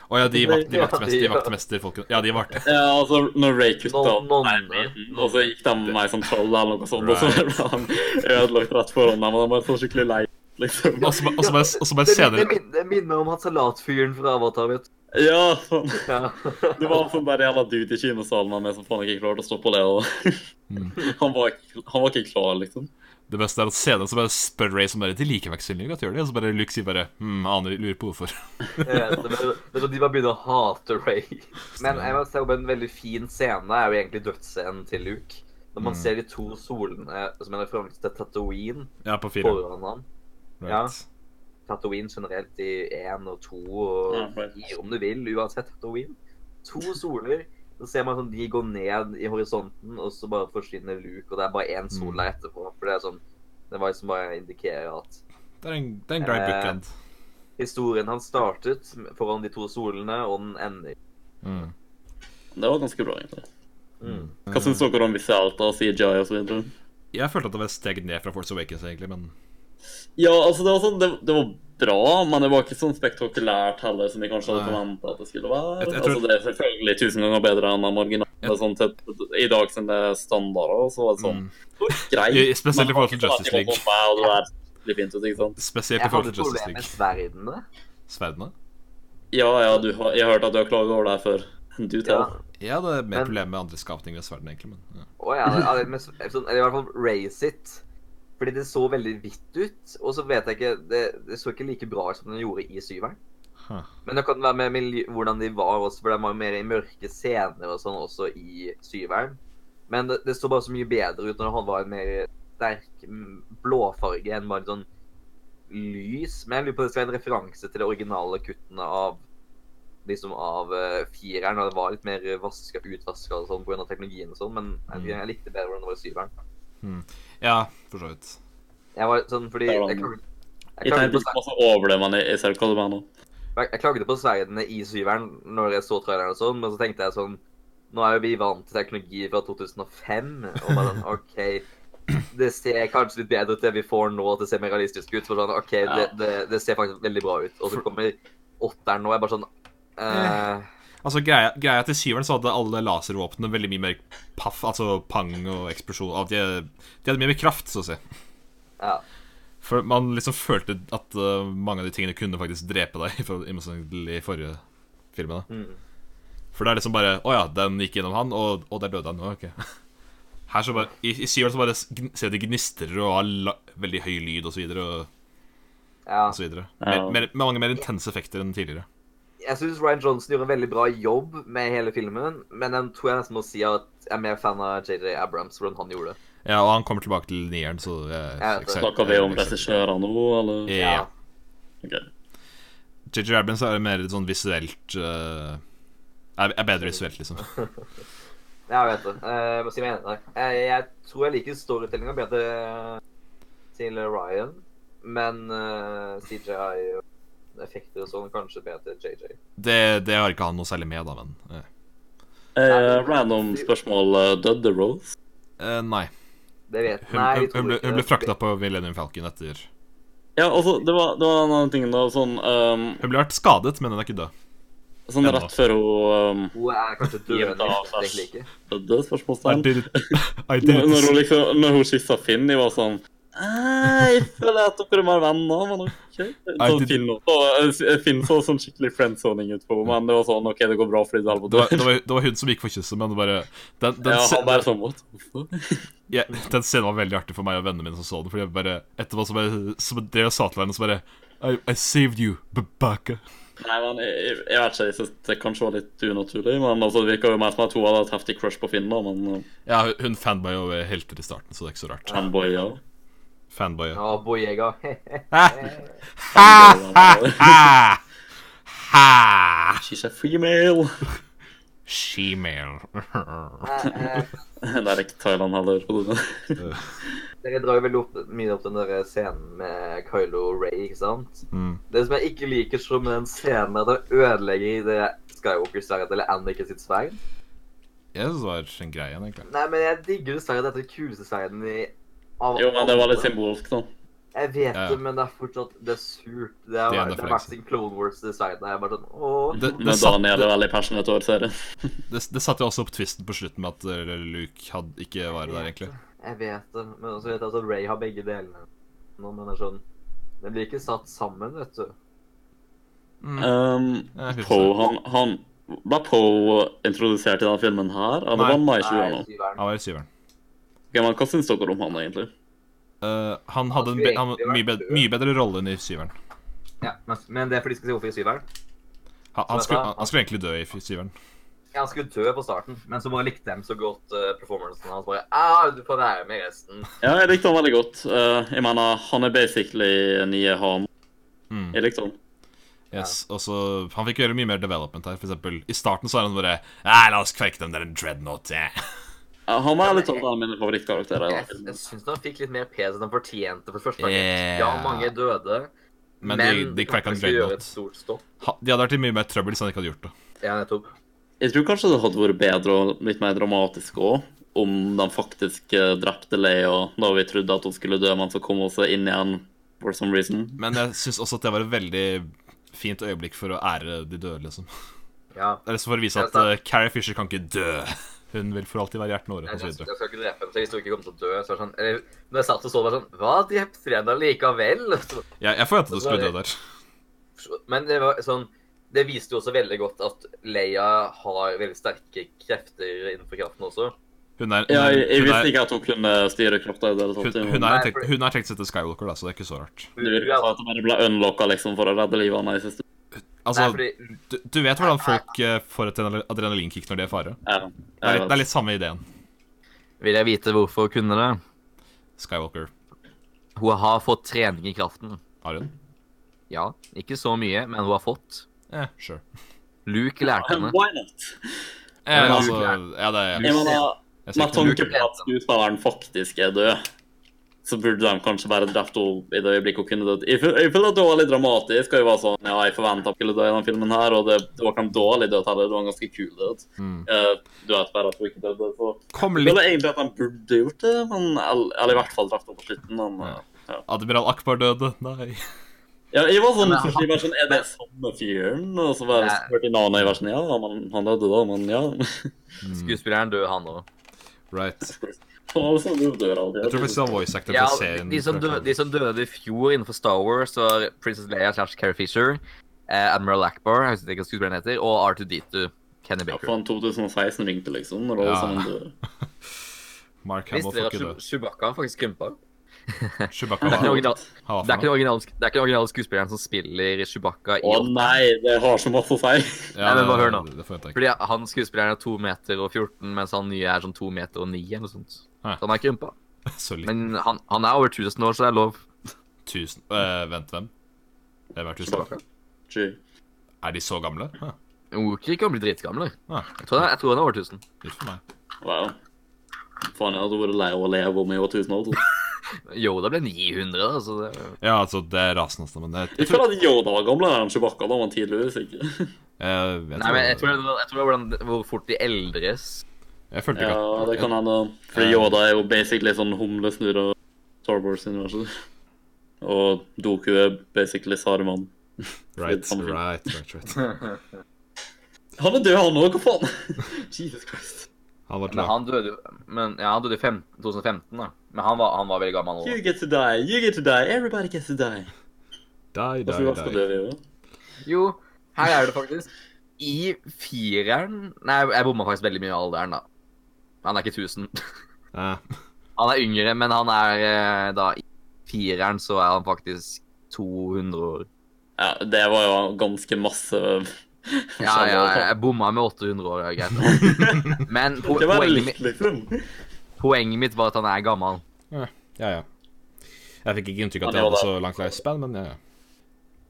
[SPEAKER 3] Å ja, de, vakt, de
[SPEAKER 2] Ja,
[SPEAKER 3] vaktmester,
[SPEAKER 2] de-
[SPEAKER 3] de vaktmesterfolkene. Ja, de vakt...
[SPEAKER 1] Ja, altså, når Ray kutta
[SPEAKER 2] No-
[SPEAKER 1] opp
[SPEAKER 2] nonne.
[SPEAKER 1] leiligheten, og så gikk de med ei sånn troll eller noe sånt, og så ble han ødelagt rett foran dem, og de var så skikkelig lei, liksom.
[SPEAKER 3] Og så bare- og så bare- og så bare
[SPEAKER 2] Det, min- det,
[SPEAKER 3] senere
[SPEAKER 2] min- det minner om han salatfyren fra Avatar, vet du.
[SPEAKER 1] Ja, sånn.
[SPEAKER 2] Ja.
[SPEAKER 1] Det var en sånn der jævla dude i kinosalen han med som faen ikke klarte å stoppe det. Og... Han, var ikke, han var ikke klar, liksom.
[SPEAKER 3] Mm. Det beste er at senere så bare spør Ray som bare De liker vaksinen, at gjør de? Og så bare Luke sier bare Hm, aner lurer på hvorfor.
[SPEAKER 2] Ja, det er det er sånn de bare begynner å hate Ray. Men jeg må se om en veldig fin scene er jo egentlig dødsscenen til Luke. Når
[SPEAKER 3] Mm.
[SPEAKER 2] man ser de to solene eh, som en referanse til Tatooine
[SPEAKER 3] Ja, på fire.
[SPEAKER 2] foran ham. ja. Tatooine generelt i én og to og
[SPEAKER 1] Ja, right.
[SPEAKER 2] fire, om du vil, uansett Tatooine. To soler. Så ser man sånn de går ned i horisonten, og så bare forsvinner Luke, og det er bare én
[SPEAKER 3] Mm.
[SPEAKER 2] sol der etterpå. For det er sånn Det var liksom bare indikerer at
[SPEAKER 3] Det er en, det er en grei
[SPEAKER 2] Eh,
[SPEAKER 3] bookend.
[SPEAKER 2] historien han startet foran de to solene, og den ender.
[SPEAKER 3] Mm.
[SPEAKER 1] Det var ganske bra, egentlig.
[SPEAKER 2] Mm.
[SPEAKER 1] Hva syns dere om visuelt og CJI og så videre?
[SPEAKER 3] Eh, Jeg følte at det var et steg ned fra Force Awakens, egentlig, men
[SPEAKER 1] Ja, altså, det var, sånn, det, det var bra, men det var ikke sånn spektakulært heller som vi kanskje hadde
[SPEAKER 3] Nei.
[SPEAKER 1] forventa at det skulle være.
[SPEAKER 3] Jeg- jeg tror-
[SPEAKER 1] Altså, det er selvfølgelig tusen ganger bedre enn de originale.
[SPEAKER 3] Jeg-
[SPEAKER 1] Sånn, til, I dag som det er standarder, så var det sånn
[SPEAKER 3] Mm.
[SPEAKER 1] det var greit.
[SPEAKER 3] I- spesielt i
[SPEAKER 1] men
[SPEAKER 3] forhold til
[SPEAKER 1] det var
[SPEAKER 3] Justice
[SPEAKER 1] ikke
[SPEAKER 3] League.
[SPEAKER 1] sånn, wow, det der ser veldig fint ut, ikke sant?
[SPEAKER 3] Spesielt i
[SPEAKER 2] Jeg
[SPEAKER 3] forhold
[SPEAKER 2] hadde
[SPEAKER 3] til Justice
[SPEAKER 2] problemer med
[SPEAKER 3] League.
[SPEAKER 2] sverdene.
[SPEAKER 3] Sverdene?
[SPEAKER 1] Ja, ja, du har, jeg har hørt at du har klaget over det her før. Du,
[SPEAKER 2] Ja.
[SPEAKER 1] Theo.
[SPEAKER 3] Jeg hadde mer
[SPEAKER 2] Men-
[SPEAKER 3] problemer med andre skapninger enn sverdene, egentlig, men ja.
[SPEAKER 2] Å ja, ja, det- men s- sånn- eller i hvert fall raise it. Fordi det så veldig hvitt ut. Og så vet jeg ikke Det, det så ikke like bra ut som den gjorde i syveren.
[SPEAKER 3] Huh.
[SPEAKER 2] Men det kan være med miljø, hvordan de var også, for de var jo mer i mørke scener og sånn også i syveren. Men det, det så bare så mye bedre ut når han var en mer sterk mm, blåfarge enn bare sånn lys. Men jeg lurer på om det skal være en referanse til de originale kuttene av liksom av eh, fireren, og det var litt mer vaska, utvaska og sånn pga. teknologien og sånn, men
[SPEAKER 1] Mm.
[SPEAKER 2] jeg, jeg likte bedre hvordan det var i syveren.
[SPEAKER 3] ja, for så vidt.
[SPEAKER 2] Jeg var sånn fordi
[SPEAKER 1] Det
[SPEAKER 2] Jeg,
[SPEAKER 1] var
[SPEAKER 2] jeg,
[SPEAKER 1] noe.
[SPEAKER 2] jeg,
[SPEAKER 1] Jeg
[SPEAKER 2] klagde
[SPEAKER 1] tenkte
[SPEAKER 2] på
[SPEAKER 1] ikke
[SPEAKER 2] sverd-
[SPEAKER 1] masse over det, men jeg, jeg ser hva du mener.
[SPEAKER 2] jeg, jeg klagde på sverdene i syveren når jeg så traileren og sånn, men så tenkte jeg sånn Nå er jo vi vant til teknologi fra 2005, og bare sånn OK Det ser kanskje litt bedre ut det vi får nå, at det ser mer realistisk ut. For sånn, OK, det, det, det ser faktisk veldig bra ut. Og så kommer åtteren nå, og jeg bare sånn eh,
[SPEAKER 3] Altså, greia, greia til syveren så hadde alle laservåpnene veldig mye mer paff, altså pang og eksplosjon. av- De, de hadde mye mer kraft, så å si.
[SPEAKER 2] Ja.
[SPEAKER 3] For man liksom følte at eh, mange av de tingene kunne faktisk drepe deg, for, i motsetning til i forrige filmen. da.
[SPEAKER 2] Mm.
[SPEAKER 3] For det er liksom bare Å ja, den gikk gjennom han, og, og der døde han. «Å, Ok. Her så bare I, i syveren så bare gn- ser du de gnistrer og har la, veldig høy lyd og så videre. Og,
[SPEAKER 2] ja.
[SPEAKER 3] og så videre. Mer,
[SPEAKER 1] Ja.
[SPEAKER 3] mer, mange mer intense effekter enn tidligere.
[SPEAKER 2] Jeg syns Ryan Johnson gjorde en veldig bra jobb med hele filmen, men jeg tror jeg nesten må si at jeg er mer fan av JJ Abrams, hvordan han gjorde det.
[SPEAKER 3] Ja, og han kommer tilbake til nieren, så jeg,
[SPEAKER 2] Jeg vet det.
[SPEAKER 1] Snakker vi om regissører nå, eller?
[SPEAKER 3] Ja.
[SPEAKER 1] Ok.
[SPEAKER 3] JJ Abrams er mer et sånn visuelt eh, er, er bedre visuelt, liksom.
[SPEAKER 2] Jeg vet det. Eh, Jeg må si meg enig der. Jeg, jeg tror jeg liker storytellinga bedre eh, til Ryan, men eh, CJI og effekter og sånn kanskje bedre til JJ.
[SPEAKER 3] Det, det har ikke han noe særlig med, da, men eh.
[SPEAKER 1] Eh, random spørsmål. eh, Døde Rose?
[SPEAKER 3] Eh, Nei.
[SPEAKER 2] Det vet
[SPEAKER 3] Hun,
[SPEAKER 2] Nei,
[SPEAKER 3] hun,
[SPEAKER 2] jeg tror
[SPEAKER 3] hun, ble,
[SPEAKER 2] ikke
[SPEAKER 3] hun ble
[SPEAKER 2] det.
[SPEAKER 3] frakta på Millennium Falcon etter
[SPEAKER 1] Ja, altså, det var, det var en annen ting da, sånn, ehm,
[SPEAKER 3] Hun ble vært skadet, men hun er ikke død.
[SPEAKER 1] sånn
[SPEAKER 3] Ennå.
[SPEAKER 1] rett før hun um,
[SPEAKER 2] Hun er kanskje
[SPEAKER 1] Jevnt
[SPEAKER 2] døende,
[SPEAKER 1] av, ass.
[SPEAKER 2] egentlig ikke.
[SPEAKER 1] døde,
[SPEAKER 3] I
[SPEAKER 1] spørsmålstegn.
[SPEAKER 3] did it. I did
[SPEAKER 1] Når, når hun
[SPEAKER 3] it.
[SPEAKER 1] liksom, når hun kyssa Finn, jeg var sånn «Eh, Jeg føler at dere må være venner, men OK. Så
[SPEAKER 3] did-
[SPEAKER 1] Finn, så, eh, Finn så sånn skikkelig friendzoning ut på henne, men det var sånn OK, det går bra fordi du er på
[SPEAKER 3] Det var, det, var, det var hun som gikk for kysset, men det bare den, den,
[SPEAKER 1] Ja,
[SPEAKER 3] se-
[SPEAKER 1] han bare sånn What? the fuck?»
[SPEAKER 3] ja, den scenen var veldig artig for meg og vennene mine som så den. Fordi jeg bare Etterpå så bare Så drev jeg sa til hverandre så bare I, I saved you, Babaka.
[SPEAKER 1] Nei, men jeg, jeg jeg vet ikke, jeg synes det kanskje var litt unaturlig, men altså, det virker jo mer som at hun hadde et heftig crush på Finn, da, men uh,
[SPEAKER 3] Ja, hun- hun fanboy over helter i starten, så det er ikke så rart.
[SPEAKER 1] fanboy, ja.
[SPEAKER 3] Fanboy, ja.
[SPEAKER 4] Ja, Boyega.
[SPEAKER 2] Eh,
[SPEAKER 1] Fanboy, ja.
[SPEAKER 3] Ha! Ha!
[SPEAKER 1] She's a female.
[SPEAKER 3] Shemale.
[SPEAKER 2] eh,
[SPEAKER 1] Det er ikke Thailand heller.
[SPEAKER 4] Dere drar jo veldig opp, mye opp den der scenen med Kylo Ray, ikke sant?
[SPEAKER 3] Mm.
[SPEAKER 4] Det som jeg ikke liker så med den scenen, er at han ødelegger det Skywalker-sverdet, eller Anakin sitt sverd.
[SPEAKER 3] Jeg synes det var en greie, egentlig.
[SPEAKER 4] Nei, men jeg digger jo sverdet. Dette er det kuleste sverdet i av
[SPEAKER 1] Jo, men det var litt
[SPEAKER 4] alle.
[SPEAKER 1] symbolsk, da.
[SPEAKER 4] Jeg vet
[SPEAKER 3] Ja.
[SPEAKER 4] det, men det er fortsatt Det er surt. Det er, det
[SPEAKER 3] Det er
[SPEAKER 4] er,
[SPEAKER 3] en
[SPEAKER 4] verst
[SPEAKER 3] referanse.
[SPEAKER 4] i Clone Wars, det sverdet. Jeg er bare sånn åh.
[SPEAKER 3] Det,
[SPEAKER 1] Men
[SPEAKER 3] det, satt,
[SPEAKER 1] Daniel
[SPEAKER 3] det,
[SPEAKER 1] er veldig passionate over serien.
[SPEAKER 3] det, det satte jo også opp tvisten på slutten med at eh, Luke hadde, ikke var der, egentlig.
[SPEAKER 4] Jeg vet det, men også vet jeg altså at Ray har begge delene. Nå, men det er sånn Det blir ikke satt sammen, vet du.
[SPEAKER 3] Mm.
[SPEAKER 1] Um,
[SPEAKER 3] Jeg husker
[SPEAKER 1] Poe,
[SPEAKER 3] det.
[SPEAKER 1] han, han Ble Poe introdusert i denne filmen her? Eller
[SPEAKER 3] Nei.
[SPEAKER 1] var han i
[SPEAKER 4] Nei,
[SPEAKER 1] 20-årene?
[SPEAKER 4] syveren.
[SPEAKER 3] Han var i syveren.
[SPEAKER 1] Ok, men Hva syns dere om han, egentlig?
[SPEAKER 3] Eh, han hadde en be han, hadde mye, bedre, mye bedre rolle enn i syveren.
[SPEAKER 4] Ja, men, men det er fordi de skal si hvorfor i syveren.
[SPEAKER 3] Han, han, skulle, han skulle egentlig dø i f- syveren.
[SPEAKER 4] Ja, han skulle dø på starten, men så bare likte de så godt uh, performancen hans. Bare ah, du får være med i resten.
[SPEAKER 1] Ja, Jeg likte han veldig godt. Eh, jeg mener, han er basically nye Han.
[SPEAKER 3] Mm.
[SPEAKER 1] Jeg likte han.
[SPEAKER 3] Yes, og så Han fikk gjøre mye mer development her. For eksempel, I starten så er han bare Nei, la oss kvekke dem der en dreadnought. eh."
[SPEAKER 1] Eh, han er litt av en av mine favorittkarakterer. i
[SPEAKER 4] Jeg,
[SPEAKER 1] denne filmen.
[SPEAKER 4] jeg syns han fikk litt mer pes enn han fortjente for første gang.
[SPEAKER 3] Yeah.
[SPEAKER 4] Ja, mange døde,
[SPEAKER 3] Men, de, de kvekka en
[SPEAKER 4] skulle gjøre et
[SPEAKER 3] dreadnought.
[SPEAKER 4] stort stopp.
[SPEAKER 3] Ha- De hadde vært i mye mer trøbbel hvis han ikke hadde gjort det.
[SPEAKER 4] Ja, nettopp.
[SPEAKER 1] Jeg tror kanskje det hadde vært bedre og litt mer dramatisk òg, om de faktisk eh, drepte Leia da vi trodde at hun skulle dø, men så kom hun seg inn igjen for some reason.
[SPEAKER 3] Men jeg syns også at det var et veldig fint øyeblikk for å ære de døde, liksom.
[SPEAKER 4] Ja.
[SPEAKER 3] Det er liksom for å vise
[SPEAKER 4] Ja,
[SPEAKER 3] at
[SPEAKER 4] sant.
[SPEAKER 3] eh, Carrie Fisher kan ikke dø. Hun vil for alltid være hjerten vår.
[SPEAKER 4] Jeg,
[SPEAKER 3] Og så
[SPEAKER 4] jeg,
[SPEAKER 3] videre.
[SPEAKER 4] jeg skal ikke drepe henne, så jeg visste hun ikke kom til å dø. Så jeg var sånn, eller, når jeg satt og så, var jeg sånn Hva? Drepte de henne likevel? Så,
[SPEAKER 3] jeg, jeg forventet at hun skulle dø der.
[SPEAKER 4] men det var sånn Det viste jo også veldig godt at Leia har veldig sterke krefter innenfor kraften også.
[SPEAKER 3] Hun er,
[SPEAKER 1] Ja, jeg, jeg
[SPEAKER 3] hun
[SPEAKER 1] visste
[SPEAKER 3] er,
[SPEAKER 1] ikke at hun kunne styre krafta i det hele
[SPEAKER 3] hun,
[SPEAKER 1] tatt.
[SPEAKER 3] hun,
[SPEAKER 1] men
[SPEAKER 3] er
[SPEAKER 4] Nei,
[SPEAKER 3] tek-
[SPEAKER 4] for-
[SPEAKER 3] hun er tekst etter Skywalker, da, så det er ikke så rart.
[SPEAKER 1] Det virker som at hun bare ble unlocka liksom, for å redde livet hans i siste
[SPEAKER 3] Altså,
[SPEAKER 4] Nei, fordi
[SPEAKER 3] du, du vet hvordan folk eh, får et adrenal- adrenalinkick når de er i fare?
[SPEAKER 1] Ja, altså.
[SPEAKER 3] Det er,
[SPEAKER 1] jeg
[SPEAKER 3] litt-
[SPEAKER 1] vet.
[SPEAKER 3] det er litt samme ideen.
[SPEAKER 2] Vil jeg vite hvorfor hun kunne det?
[SPEAKER 3] Skywalker.
[SPEAKER 2] Hun har fått trening i kraften.
[SPEAKER 3] Har hun?
[SPEAKER 2] Ja, ikke så mye, men hun har fått.
[SPEAKER 3] Eh, sure.
[SPEAKER 2] Luke lærte henne.
[SPEAKER 1] Why not?
[SPEAKER 3] Eh,
[SPEAKER 2] men
[SPEAKER 3] altså,
[SPEAKER 2] altså-
[SPEAKER 3] ja, det er
[SPEAKER 1] Jeg
[SPEAKER 3] jeg.
[SPEAKER 1] mener,
[SPEAKER 3] jeg
[SPEAKER 1] Med
[SPEAKER 3] ser ikke
[SPEAKER 1] tanke på at skuespilleren faktisk er død, så burde de kanskje bare drept henne i det øyeblikket hun kunne dødd. Jeg føl- jeg føler at det var litt dramatisk. og jeg var sånn, ja, jeg forventet hun skulle dø i denne filmen, her, og det, det var ikke en dårlig død heller, det var en ganske kul død.
[SPEAKER 3] Mm.
[SPEAKER 1] Eh, du vet bare at hun ikke døde. så...
[SPEAKER 3] Kom
[SPEAKER 1] Jeg
[SPEAKER 3] litt
[SPEAKER 1] føler egentlig at de burde gjort det, men, eller, eller i hvert fall drept henne på slutten. Men, eh,
[SPEAKER 3] Admiral Akbar døde. Nei.
[SPEAKER 1] ja, jeg var sånn,
[SPEAKER 2] Men-
[SPEAKER 1] først, jeg var sånn, Er det samme fyren? Og så bare
[SPEAKER 2] Nei.
[SPEAKER 1] spurte jeg Nana i versen. Ja, men, han døde da, men ja.
[SPEAKER 2] Skuespilleren døde, han òg.
[SPEAKER 3] Right.
[SPEAKER 1] Han var sånn, du dør aldri.
[SPEAKER 3] Jeg tror faktisk det var voice actor
[SPEAKER 2] Ja,
[SPEAKER 3] på serien.
[SPEAKER 2] de, som døde, de som døde i fjor innenfor Star Wars, var Princess Leia slash Carrie Fisher, eh, Admiral Ackbar, jeg husker ikke hva skuespilleren heter, og R2D2, Kenny
[SPEAKER 1] Ja,
[SPEAKER 2] Baker.
[SPEAKER 1] faen, 2016 ringte, liksom. Når alle
[SPEAKER 3] Ja.
[SPEAKER 1] sammen dør.
[SPEAKER 3] Mark Hamill
[SPEAKER 2] Visste
[SPEAKER 3] får
[SPEAKER 2] dere at
[SPEAKER 3] ikke dø.
[SPEAKER 2] Chewb- Chewbacca faktisk krympa?
[SPEAKER 3] Chewbacca
[SPEAKER 2] Det er ikke
[SPEAKER 3] var-
[SPEAKER 2] original-
[SPEAKER 3] han var
[SPEAKER 2] det er ikke
[SPEAKER 3] for
[SPEAKER 2] den originale sk- det er ikke den originale skuespilleren som spiller Chewbacca i
[SPEAKER 1] Å
[SPEAKER 2] åtteren.
[SPEAKER 1] nei, det har så masse å si.
[SPEAKER 2] Nei,
[SPEAKER 3] noe.
[SPEAKER 2] men
[SPEAKER 3] det-
[SPEAKER 2] bare hør nå.
[SPEAKER 3] Det forventer jeg ikke.
[SPEAKER 2] Fordi han skuespilleren er 2 meter og 14, mens han nye er sånn 2 meter og 9 eller noe sånt.
[SPEAKER 3] Hæ.
[SPEAKER 2] Så han er krympa.
[SPEAKER 3] Så litt
[SPEAKER 2] Men han, han er over 1000 år, så det er lov.
[SPEAKER 3] tusen Eh, Vent, hvem? Det er hver tusen år.
[SPEAKER 1] True.
[SPEAKER 3] Er de så gamle? Huh.
[SPEAKER 2] Oker kan bli dritgamle.
[SPEAKER 3] Ah,
[SPEAKER 2] Jeg tror, han er- jeg tror han er over 1000.
[SPEAKER 3] litt for meg.
[SPEAKER 1] Wow. Faen, jeg hadde vært lei av å leve om jeg var 1000 år. tror jeg.
[SPEAKER 2] Yoda ble 900, da, så det er
[SPEAKER 3] Ja, altså, det er rasen hans, da, men jeg, jeg
[SPEAKER 1] Jeg
[SPEAKER 3] tror
[SPEAKER 1] føler at Yoda var gamlere enn Chewbacca. Da var han tidligvis ikke.
[SPEAKER 3] jeg, vet
[SPEAKER 2] Nei, men jeg tror,
[SPEAKER 3] ikke.
[SPEAKER 2] det var- jeg tror det var hvordan, hvor fort de eldres.
[SPEAKER 3] Jeg følte
[SPEAKER 1] Ja,
[SPEAKER 3] ikke at
[SPEAKER 1] det kan hende. Fordi Yoda er jo basically sånn humlesnurr av Star Wars-universet. Og Doku er basically Saruman.
[SPEAKER 3] Right,
[SPEAKER 1] sånn
[SPEAKER 3] right, right, right.
[SPEAKER 1] Han er død, han òg, hva faen? Jesus Christ.
[SPEAKER 3] Han var
[SPEAKER 2] Men
[SPEAKER 3] tilbake.
[SPEAKER 2] han døde jo men, Ja, han døde i fem- 2015, da. Men han var, han var veldig gammel
[SPEAKER 1] You
[SPEAKER 2] nå.
[SPEAKER 1] get to die, you get to die, everybody gets to die. Hvorfor
[SPEAKER 3] Die, die,
[SPEAKER 1] hva skal
[SPEAKER 3] die.
[SPEAKER 1] dø, jo?
[SPEAKER 2] Jo, her er det faktisk. I fireren Nei, jeg bomma faktisk veldig mye i alderen, da. Han er ikke 1000.
[SPEAKER 3] Eh,
[SPEAKER 2] Han er yngre, men han er eh, da I fireren så er han faktisk 200 år.
[SPEAKER 1] Ja, det var jo ganske masse
[SPEAKER 2] Ja, ja, jeg bomma med 800 år, ja, greit. Men po
[SPEAKER 1] Det var
[SPEAKER 2] poenget,
[SPEAKER 1] litt,
[SPEAKER 2] mitt,
[SPEAKER 1] liksom.
[SPEAKER 2] poenget mitt var at han er gammel.
[SPEAKER 3] Ja, ja. Jeg fikk ikke inntrykk av
[SPEAKER 1] Ja,
[SPEAKER 3] at
[SPEAKER 1] det Eh.
[SPEAKER 3] jeg hadde
[SPEAKER 1] var
[SPEAKER 3] så langt lifespan, men ja, ja.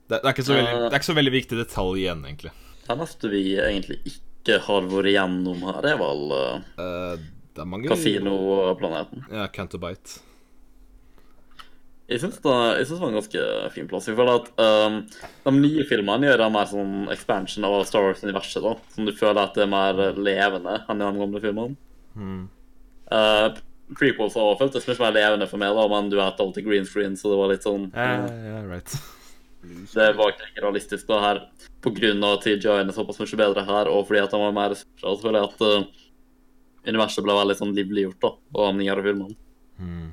[SPEAKER 3] Det, det, er ikke så veldig, det er ikke så veldig viktig detalj igjen, egentlig.
[SPEAKER 1] Den neste vi egentlig ikke har vært igjennom her, det er vel eh,
[SPEAKER 3] Eh, det er mange
[SPEAKER 1] Kasinoplaneten.
[SPEAKER 3] Ja, Cantobite.
[SPEAKER 1] Jeg syns det, jeg synes det var en ganske fin plass. Jeg føler at ehm, De nye filmene gjør en mer sånn expansion av Star Wars-universet. da, Som du føler at det er mer levende enn i de gamle filmene.
[SPEAKER 3] Hmm.
[SPEAKER 1] Eh, prequels har også føltes mye mer levende for meg, da, men du vet alltid green screen, så det var litt sånn
[SPEAKER 3] Ja, ja, right.
[SPEAKER 1] Det var ikke realistisk da her pga. TGI-ene såpass mye bedre her, og fordi at de var mer ressurser. Så føler jeg at eh, universet ble veldig sånn livliggjort da, av de nyere filmene.
[SPEAKER 3] Hmm.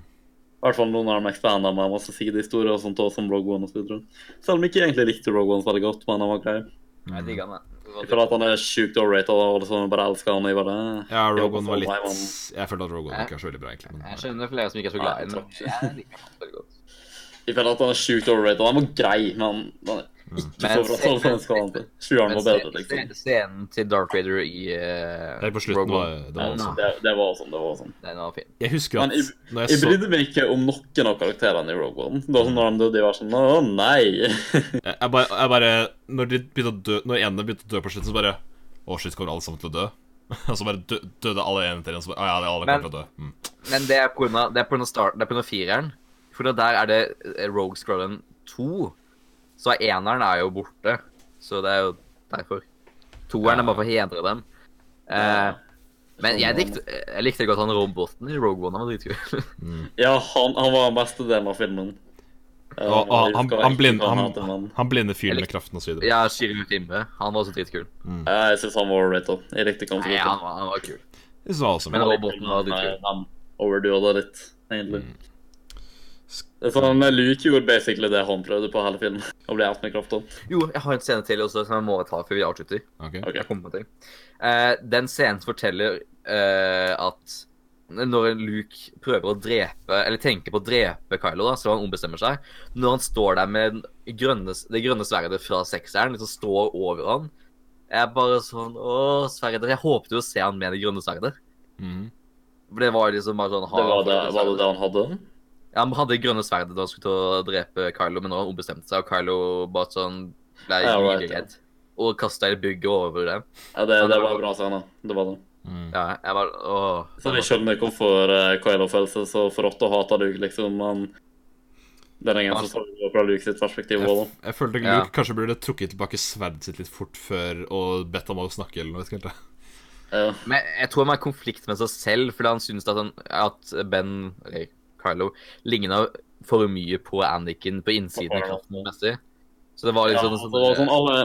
[SPEAKER 1] I hvert fall nå når de expanda med masse sidehistorier og sånt, også, som Rogue One og så videre. Selv om jeg ikke egentlig likte Rogue One så veldig godt, men han var grei.
[SPEAKER 2] Mm. Jeg digger han,
[SPEAKER 1] Jeg føler at han er sjukt overrated, og alle sammen bare elsker han. og Jeg bare...
[SPEAKER 3] Ja, Rogan
[SPEAKER 1] Jeg
[SPEAKER 3] var
[SPEAKER 1] håper
[SPEAKER 3] litt
[SPEAKER 1] sånn, nei,
[SPEAKER 3] Jeg følte at Rogan ikke var så veldig bra, egentlig.
[SPEAKER 2] Jeg
[SPEAKER 3] Men,
[SPEAKER 2] skjønner flere som ikke er så glad i den.
[SPEAKER 1] Nei,
[SPEAKER 2] Jeg liker han veldig godt.
[SPEAKER 1] men Jeg føler at han er sjukt overrated. Han var grei, men han
[SPEAKER 3] Hmm.
[SPEAKER 1] er ikke så
[SPEAKER 2] Men
[SPEAKER 1] bra
[SPEAKER 2] se-
[SPEAKER 1] som han skal være. Sjueren
[SPEAKER 2] Men
[SPEAKER 1] var bedre,
[SPEAKER 2] se-
[SPEAKER 1] liksom.
[SPEAKER 2] se- Scenen til Darth Vader i eh,
[SPEAKER 3] Helt på slutten
[SPEAKER 2] Rogue One,
[SPEAKER 3] var det
[SPEAKER 1] Ja,
[SPEAKER 3] var også
[SPEAKER 1] Det, det var sånn, det var sånn.
[SPEAKER 2] den var fin.
[SPEAKER 3] Jeg husker
[SPEAKER 1] Men
[SPEAKER 3] at
[SPEAKER 1] jeg-
[SPEAKER 3] når jeg
[SPEAKER 1] Jeg
[SPEAKER 3] så
[SPEAKER 1] brydde meg ikke om noen av karakterene i Rogue One. Da når de døde, jeg var sånn Å, nei!
[SPEAKER 3] Jeg jeg bare, jeg bare Når de begynte å dø Når ene begynte å dø på slutten, så bare Å, shit, kommer alle sammen til å dø? Og så bare dø, døde alle en etter en. Så bare, «Å ja, alle
[SPEAKER 2] Men-
[SPEAKER 3] kommer til å dø. Mm.
[SPEAKER 2] Men det er på grunn av, det er på grunn av, start, det er på grunn av fireren. For det der er det eh, Rogue Scrollen 2. Så eneren er jo borte. Så det er jo derfor. Toeren er bare for å hedre dem. Eh, men jeg likte, jeg likte godt han roboten i Rogue One. Han var dritkul.
[SPEAKER 1] Ja, han, han var den beste delen av filmen. Eh,
[SPEAKER 3] Og,
[SPEAKER 1] jeg
[SPEAKER 3] og han,
[SPEAKER 1] husker
[SPEAKER 3] han,
[SPEAKER 1] ikke
[SPEAKER 3] blind,
[SPEAKER 1] hva han heter,
[SPEAKER 3] han,
[SPEAKER 1] men,
[SPEAKER 3] han blinde fyren
[SPEAKER 2] Jeg
[SPEAKER 3] med kraften og så videre.
[SPEAKER 2] ja, Shirin Timbe. Han var også dritkul.
[SPEAKER 1] eh, jeg syns han var overrated. Jeg likte ikke han så
[SPEAKER 2] Nei, han
[SPEAKER 1] godt.
[SPEAKER 2] var, han var kul.
[SPEAKER 3] Det var awesome.
[SPEAKER 2] Men roboten
[SPEAKER 1] Nei,
[SPEAKER 2] var dritkul.
[SPEAKER 1] han overduoda litt, egentlig.
[SPEAKER 3] Mm. Sk-
[SPEAKER 1] Det er Sånn, Luke gjorde basically det han prøvde på hele filmen. Å bli out med krafta.
[SPEAKER 2] Jo, jeg har en scene til også som jeg må ta før vi avslutter.
[SPEAKER 3] Ok.
[SPEAKER 1] Ok.
[SPEAKER 2] Jeg kommer på ting. Eh, den scenen som forteller eh, at når Luke prøver å drepe, eller tenker på å drepe Kylo, da, så han ombestemmer seg. Når han står der med den grønne, det grønne sverdet fra sekseren, liksom står over han, jeg er bare sånn Å, sverdet. Jeg håpet jo å se han med det grønne sverdet.
[SPEAKER 3] Mhm.
[SPEAKER 2] For det var jo liksom bare sånn
[SPEAKER 1] Det var det, var det
[SPEAKER 2] sverdet.
[SPEAKER 1] det han hadde?
[SPEAKER 2] Ja, Han hadde grønne sverdet da han skulle til å drepe Kylo, men når han ombestemte seg, og Kylo bare sånn ble
[SPEAKER 1] Ja, right,
[SPEAKER 2] livredd
[SPEAKER 1] ja.
[SPEAKER 2] og kasta i bygget over dem.
[SPEAKER 1] Ja, det, det var en bra scene. Det var det.
[SPEAKER 3] Mm.
[SPEAKER 2] Ja, jeg var, åh.
[SPEAKER 1] Så Sånn, jeg skjønner ikke hvorfor eh, Kylo føler seg så forrådt og hater Luke, liksom, men det er ingen som står det fra Luke sitt perspektiv
[SPEAKER 3] Jeg,
[SPEAKER 1] òg, da.
[SPEAKER 3] f- jeg følte
[SPEAKER 2] Ja.
[SPEAKER 3] Luke kanskje burde trukket tilbake sverdet sitt litt fort før og bedt ham om å snakke eller noe. vet ikke helt det.
[SPEAKER 1] Ja.
[SPEAKER 2] Men jeg tror han har konflikt med seg selv, fordi han synes at, han, at Ben, eller Kylo, ligner for mye på Anakin på innsiden av kroppen messig. Så det var
[SPEAKER 1] Ja,
[SPEAKER 2] liksom
[SPEAKER 1] altså, det var sånn alle,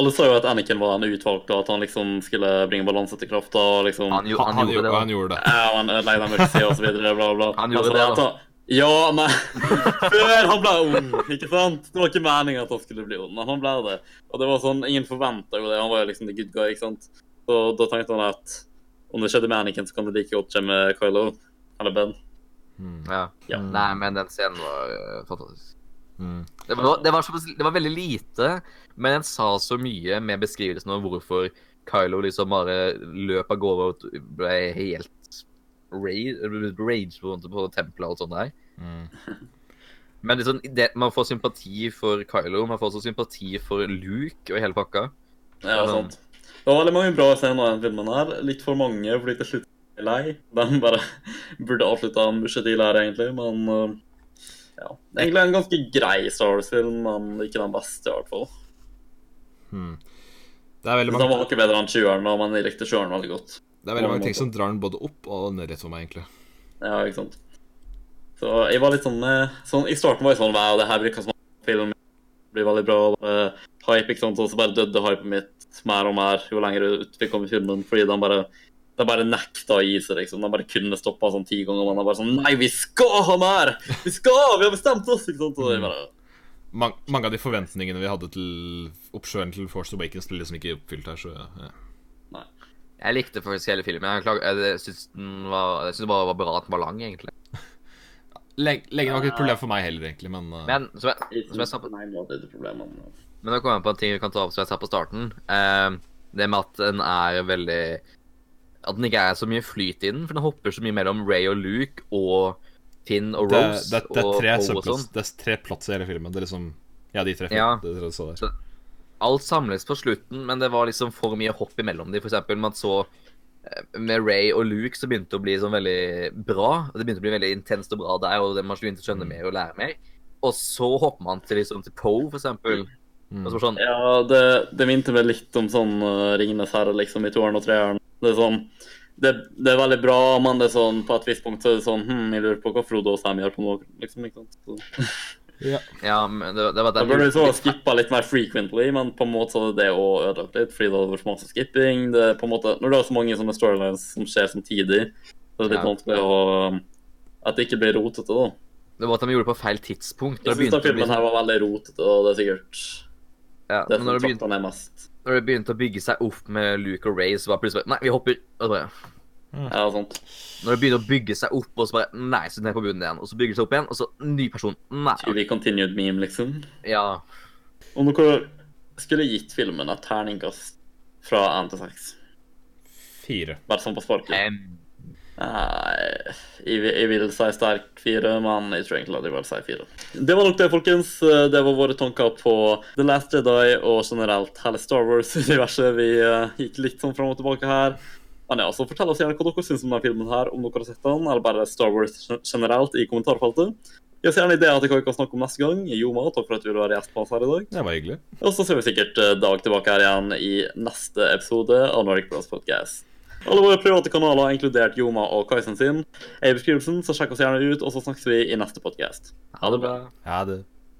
[SPEAKER 1] alle sa jo at Anakin var en utvalgt, og at han liksom skulle bringe balanse til krafta. og liksom...
[SPEAKER 2] han, jo,
[SPEAKER 3] Han,
[SPEAKER 2] han,
[SPEAKER 3] han,
[SPEAKER 2] gjorde det.
[SPEAKER 3] han
[SPEAKER 2] da.
[SPEAKER 3] gjorde det.
[SPEAKER 1] Ja, han ødelegger mørket og så videre, bla, bla.
[SPEAKER 2] Han
[SPEAKER 1] Men
[SPEAKER 2] gjorde
[SPEAKER 1] så
[SPEAKER 2] det,
[SPEAKER 1] at
[SPEAKER 2] da.
[SPEAKER 1] han- Ja, men før han ble ond, ikke sant? Det var ikke meningen at han skulle bli ond, men han ble det. Og det var sånn, ingen forventet jo det, han var jo liksom the good guy, ikke sant? Så da tenkte han at om det skjedde med Anakin, så kan det like godt skje med Kylo, eller Ben.
[SPEAKER 2] Ja.
[SPEAKER 1] Ja.
[SPEAKER 2] Nei, men den scenen var øh, fantastisk.
[SPEAKER 3] Mm.
[SPEAKER 2] Det var, det, var såpass- det var veldig lite, men den sa så mye med beskrivelsen av hvorfor Kylo liksom bare løp av gårde og ble helt rage, rage på, på tempelet og alt sånt der.
[SPEAKER 3] Mm.
[SPEAKER 2] Men liksom, det, man får sympati for Kylo, man får også sympati for Luke og hele pakka.
[SPEAKER 1] Ja, sant. Det var veldig mange bra scener i den filmen her. Litt for mange, fordi til slutt er jeg lei. De bare burde avslutta en budsjettil her, egentlig, men uh, ja. Egentlig en ganske grei Star Wars-film, men ikke den beste, i hvert fall.
[SPEAKER 3] mm. Det er veldig
[SPEAKER 1] Den
[SPEAKER 3] mange
[SPEAKER 1] var ikke bedre enn 20-eren, da, men jeg likte 20-eren veldig godt.
[SPEAKER 3] Det er veldig mange ting som drar den både opp og ned rett for meg, egentlig.
[SPEAKER 1] Ja, ikke sant. Så jeg var litt sånn, eh, sånn I starten var jeg sånn Wow, det her virker som en film blir veldig bra. og bare hype, ikke sant. Og så bare døde hypet mitt mer og mer jo lenger ut vi kom i filmen. Fordi de bare, de bare nekta å gi seg, liksom. De bare kunne stoppa sånn ti ganger. Men de bare sånn Nei, vi skal ha mer! Vi skal! Vi har bestemt oss! Ikke sant. Og jeg bare
[SPEAKER 3] Mang- mange av de forventningene vi hadde til oppsjøen til Force Awakens, ble liksom ikke oppfylt her, så ja. ja.
[SPEAKER 1] Nei.
[SPEAKER 2] Jeg likte faktisk hele filmen. Jeg, klag, jeg syns den var, jeg synes det bare var bra at den var lang, egentlig.
[SPEAKER 3] Leg- Leggen var ikke et problem for meg heller, egentlig, men, eh,
[SPEAKER 2] Men som jeg, som jeg sa på
[SPEAKER 1] Nei, nå er det problemene.
[SPEAKER 2] Men da kommer jeg på en ting vi kan ta opp som jeg sa på starten. Eh, det med at den er veldig At den ikke er så mye flyt i den, for den hopper så mye mellom Ray og Luke og Finn og
[SPEAKER 3] det,
[SPEAKER 2] Rose
[SPEAKER 3] det, det, er
[SPEAKER 2] og
[SPEAKER 3] tre
[SPEAKER 2] Poe og
[SPEAKER 3] subplots.
[SPEAKER 2] sånn.
[SPEAKER 3] Det er tre plots i hele filmen. Det er liksom Ja, de tre
[SPEAKER 2] Ja.
[SPEAKER 3] det dere så der.
[SPEAKER 2] Alt samles på slutten, men det var liksom for mye hopp imellom dem. For eksempel, man så eh, med Ray og Luke så begynte det å bli sånn veldig bra. og Det begynte å bli veldig intenst og bra der, og det- man begynte å
[SPEAKER 3] Mm.
[SPEAKER 2] skjønne mer og lære mer. Og så hopper man til liksom til Poe, for eksempel.
[SPEAKER 3] Mm.
[SPEAKER 2] Og så var det sånn,
[SPEAKER 1] Ja, det, det minte meg litt om sånn uh, Ringenes herre, liksom, i toeren og treeren. Det er sånn det, det er veldig bra, men det er sånn, på et visst punkt så er det sånn Hm, jeg lurer på hva Frode og Sam gjør på nå, liksom. ikke sant? Så,
[SPEAKER 3] Ja.
[SPEAKER 2] ja, men det, det sånn- var at
[SPEAKER 1] da
[SPEAKER 2] den-
[SPEAKER 1] burde vi så skippa litt mer frequently, men på en måte så hadde det òg ødelagt litt, fordi det hadde vært masse skipping. Det er på en måte, Når det er så mange sånne storylines som skjer samtidig, så er det litt
[SPEAKER 2] Ja.
[SPEAKER 1] vanskelig å um, At det ikke blir rotete, da.
[SPEAKER 2] Det var at de gjorde det på feil tidspunkt.
[SPEAKER 1] Jeg
[SPEAKER 2] Når det
[SPEAKER 1] syns
[SPEAKER 2] begynte å bli
[SPEAKER 1] filmen her var veldig rotete, og det er sikkert
[SPEAKER 2] Ja,
[SPEAKER 1] det
[SPEAKER 2] men
[SPEAKER 1] som
[SPEAKER 2] når det, begynte,
[SPEAKER 1] tapper ned mest.
[SPEAKER 2] når det begynte å bygge seg opp med Luke og Ray, så bare plutselig bare, Nei, vi hopper. Og så bare,
[SPEAKER 1] Ja, sant.
[SPEAKER 2] når det begynner å bygge seg opp, og så bare Nei, så ned på bunnen igjen. Og så bygger det seg opp igjen, og så ny person. Nei.
[SPEAKER 1] To be continued meme, liksom.
[SPEAKER 2] Ja.
[SPEAKER 1] Om dere skulle gitt filmen et terningkast fra 1 til 6,
[SPEAKER 3] Fire.
[SPEAKER 1] bare sånn på sparket
[SPEAKER 2] em,
[SPEAKER 1] Nei, jeg, vil- jeg vil si sterkt fire, men jeg tror egentlig at jeg vil si fire. Det var nok det, folkens. Det var våre tanker på The Last Jedi og generelt hele Star Wars-universet. Vi eh, gikk litt sånn fram og tilbake her. Men ja, så Fortell oss gjerne hva dere syns om denne filmen, her, om dere har sett den, eller bare Star Wars gen- generelt i kommentarfeltet. Gi oss gjerne ideer til hva vi kan snakke om neste gang. Joma, takk for at du ville være gjest med oss her i dag.
[SPEAKER 3] Det var hyggelig.
[SPEAKER 1] Og så ser vi sikkert eh, Dag tilbake her igjen i neste episode av Nordic Bros Podcast. Alle våre private kanaler, inkludert Joma og Kaisen sin, er i beskrivelsen, så sjekk oss gjerne ut, og så snakkes vi i neste podkast.
[SPEAKER 2] ha det bra.
[SPEAKER 3] Ja, det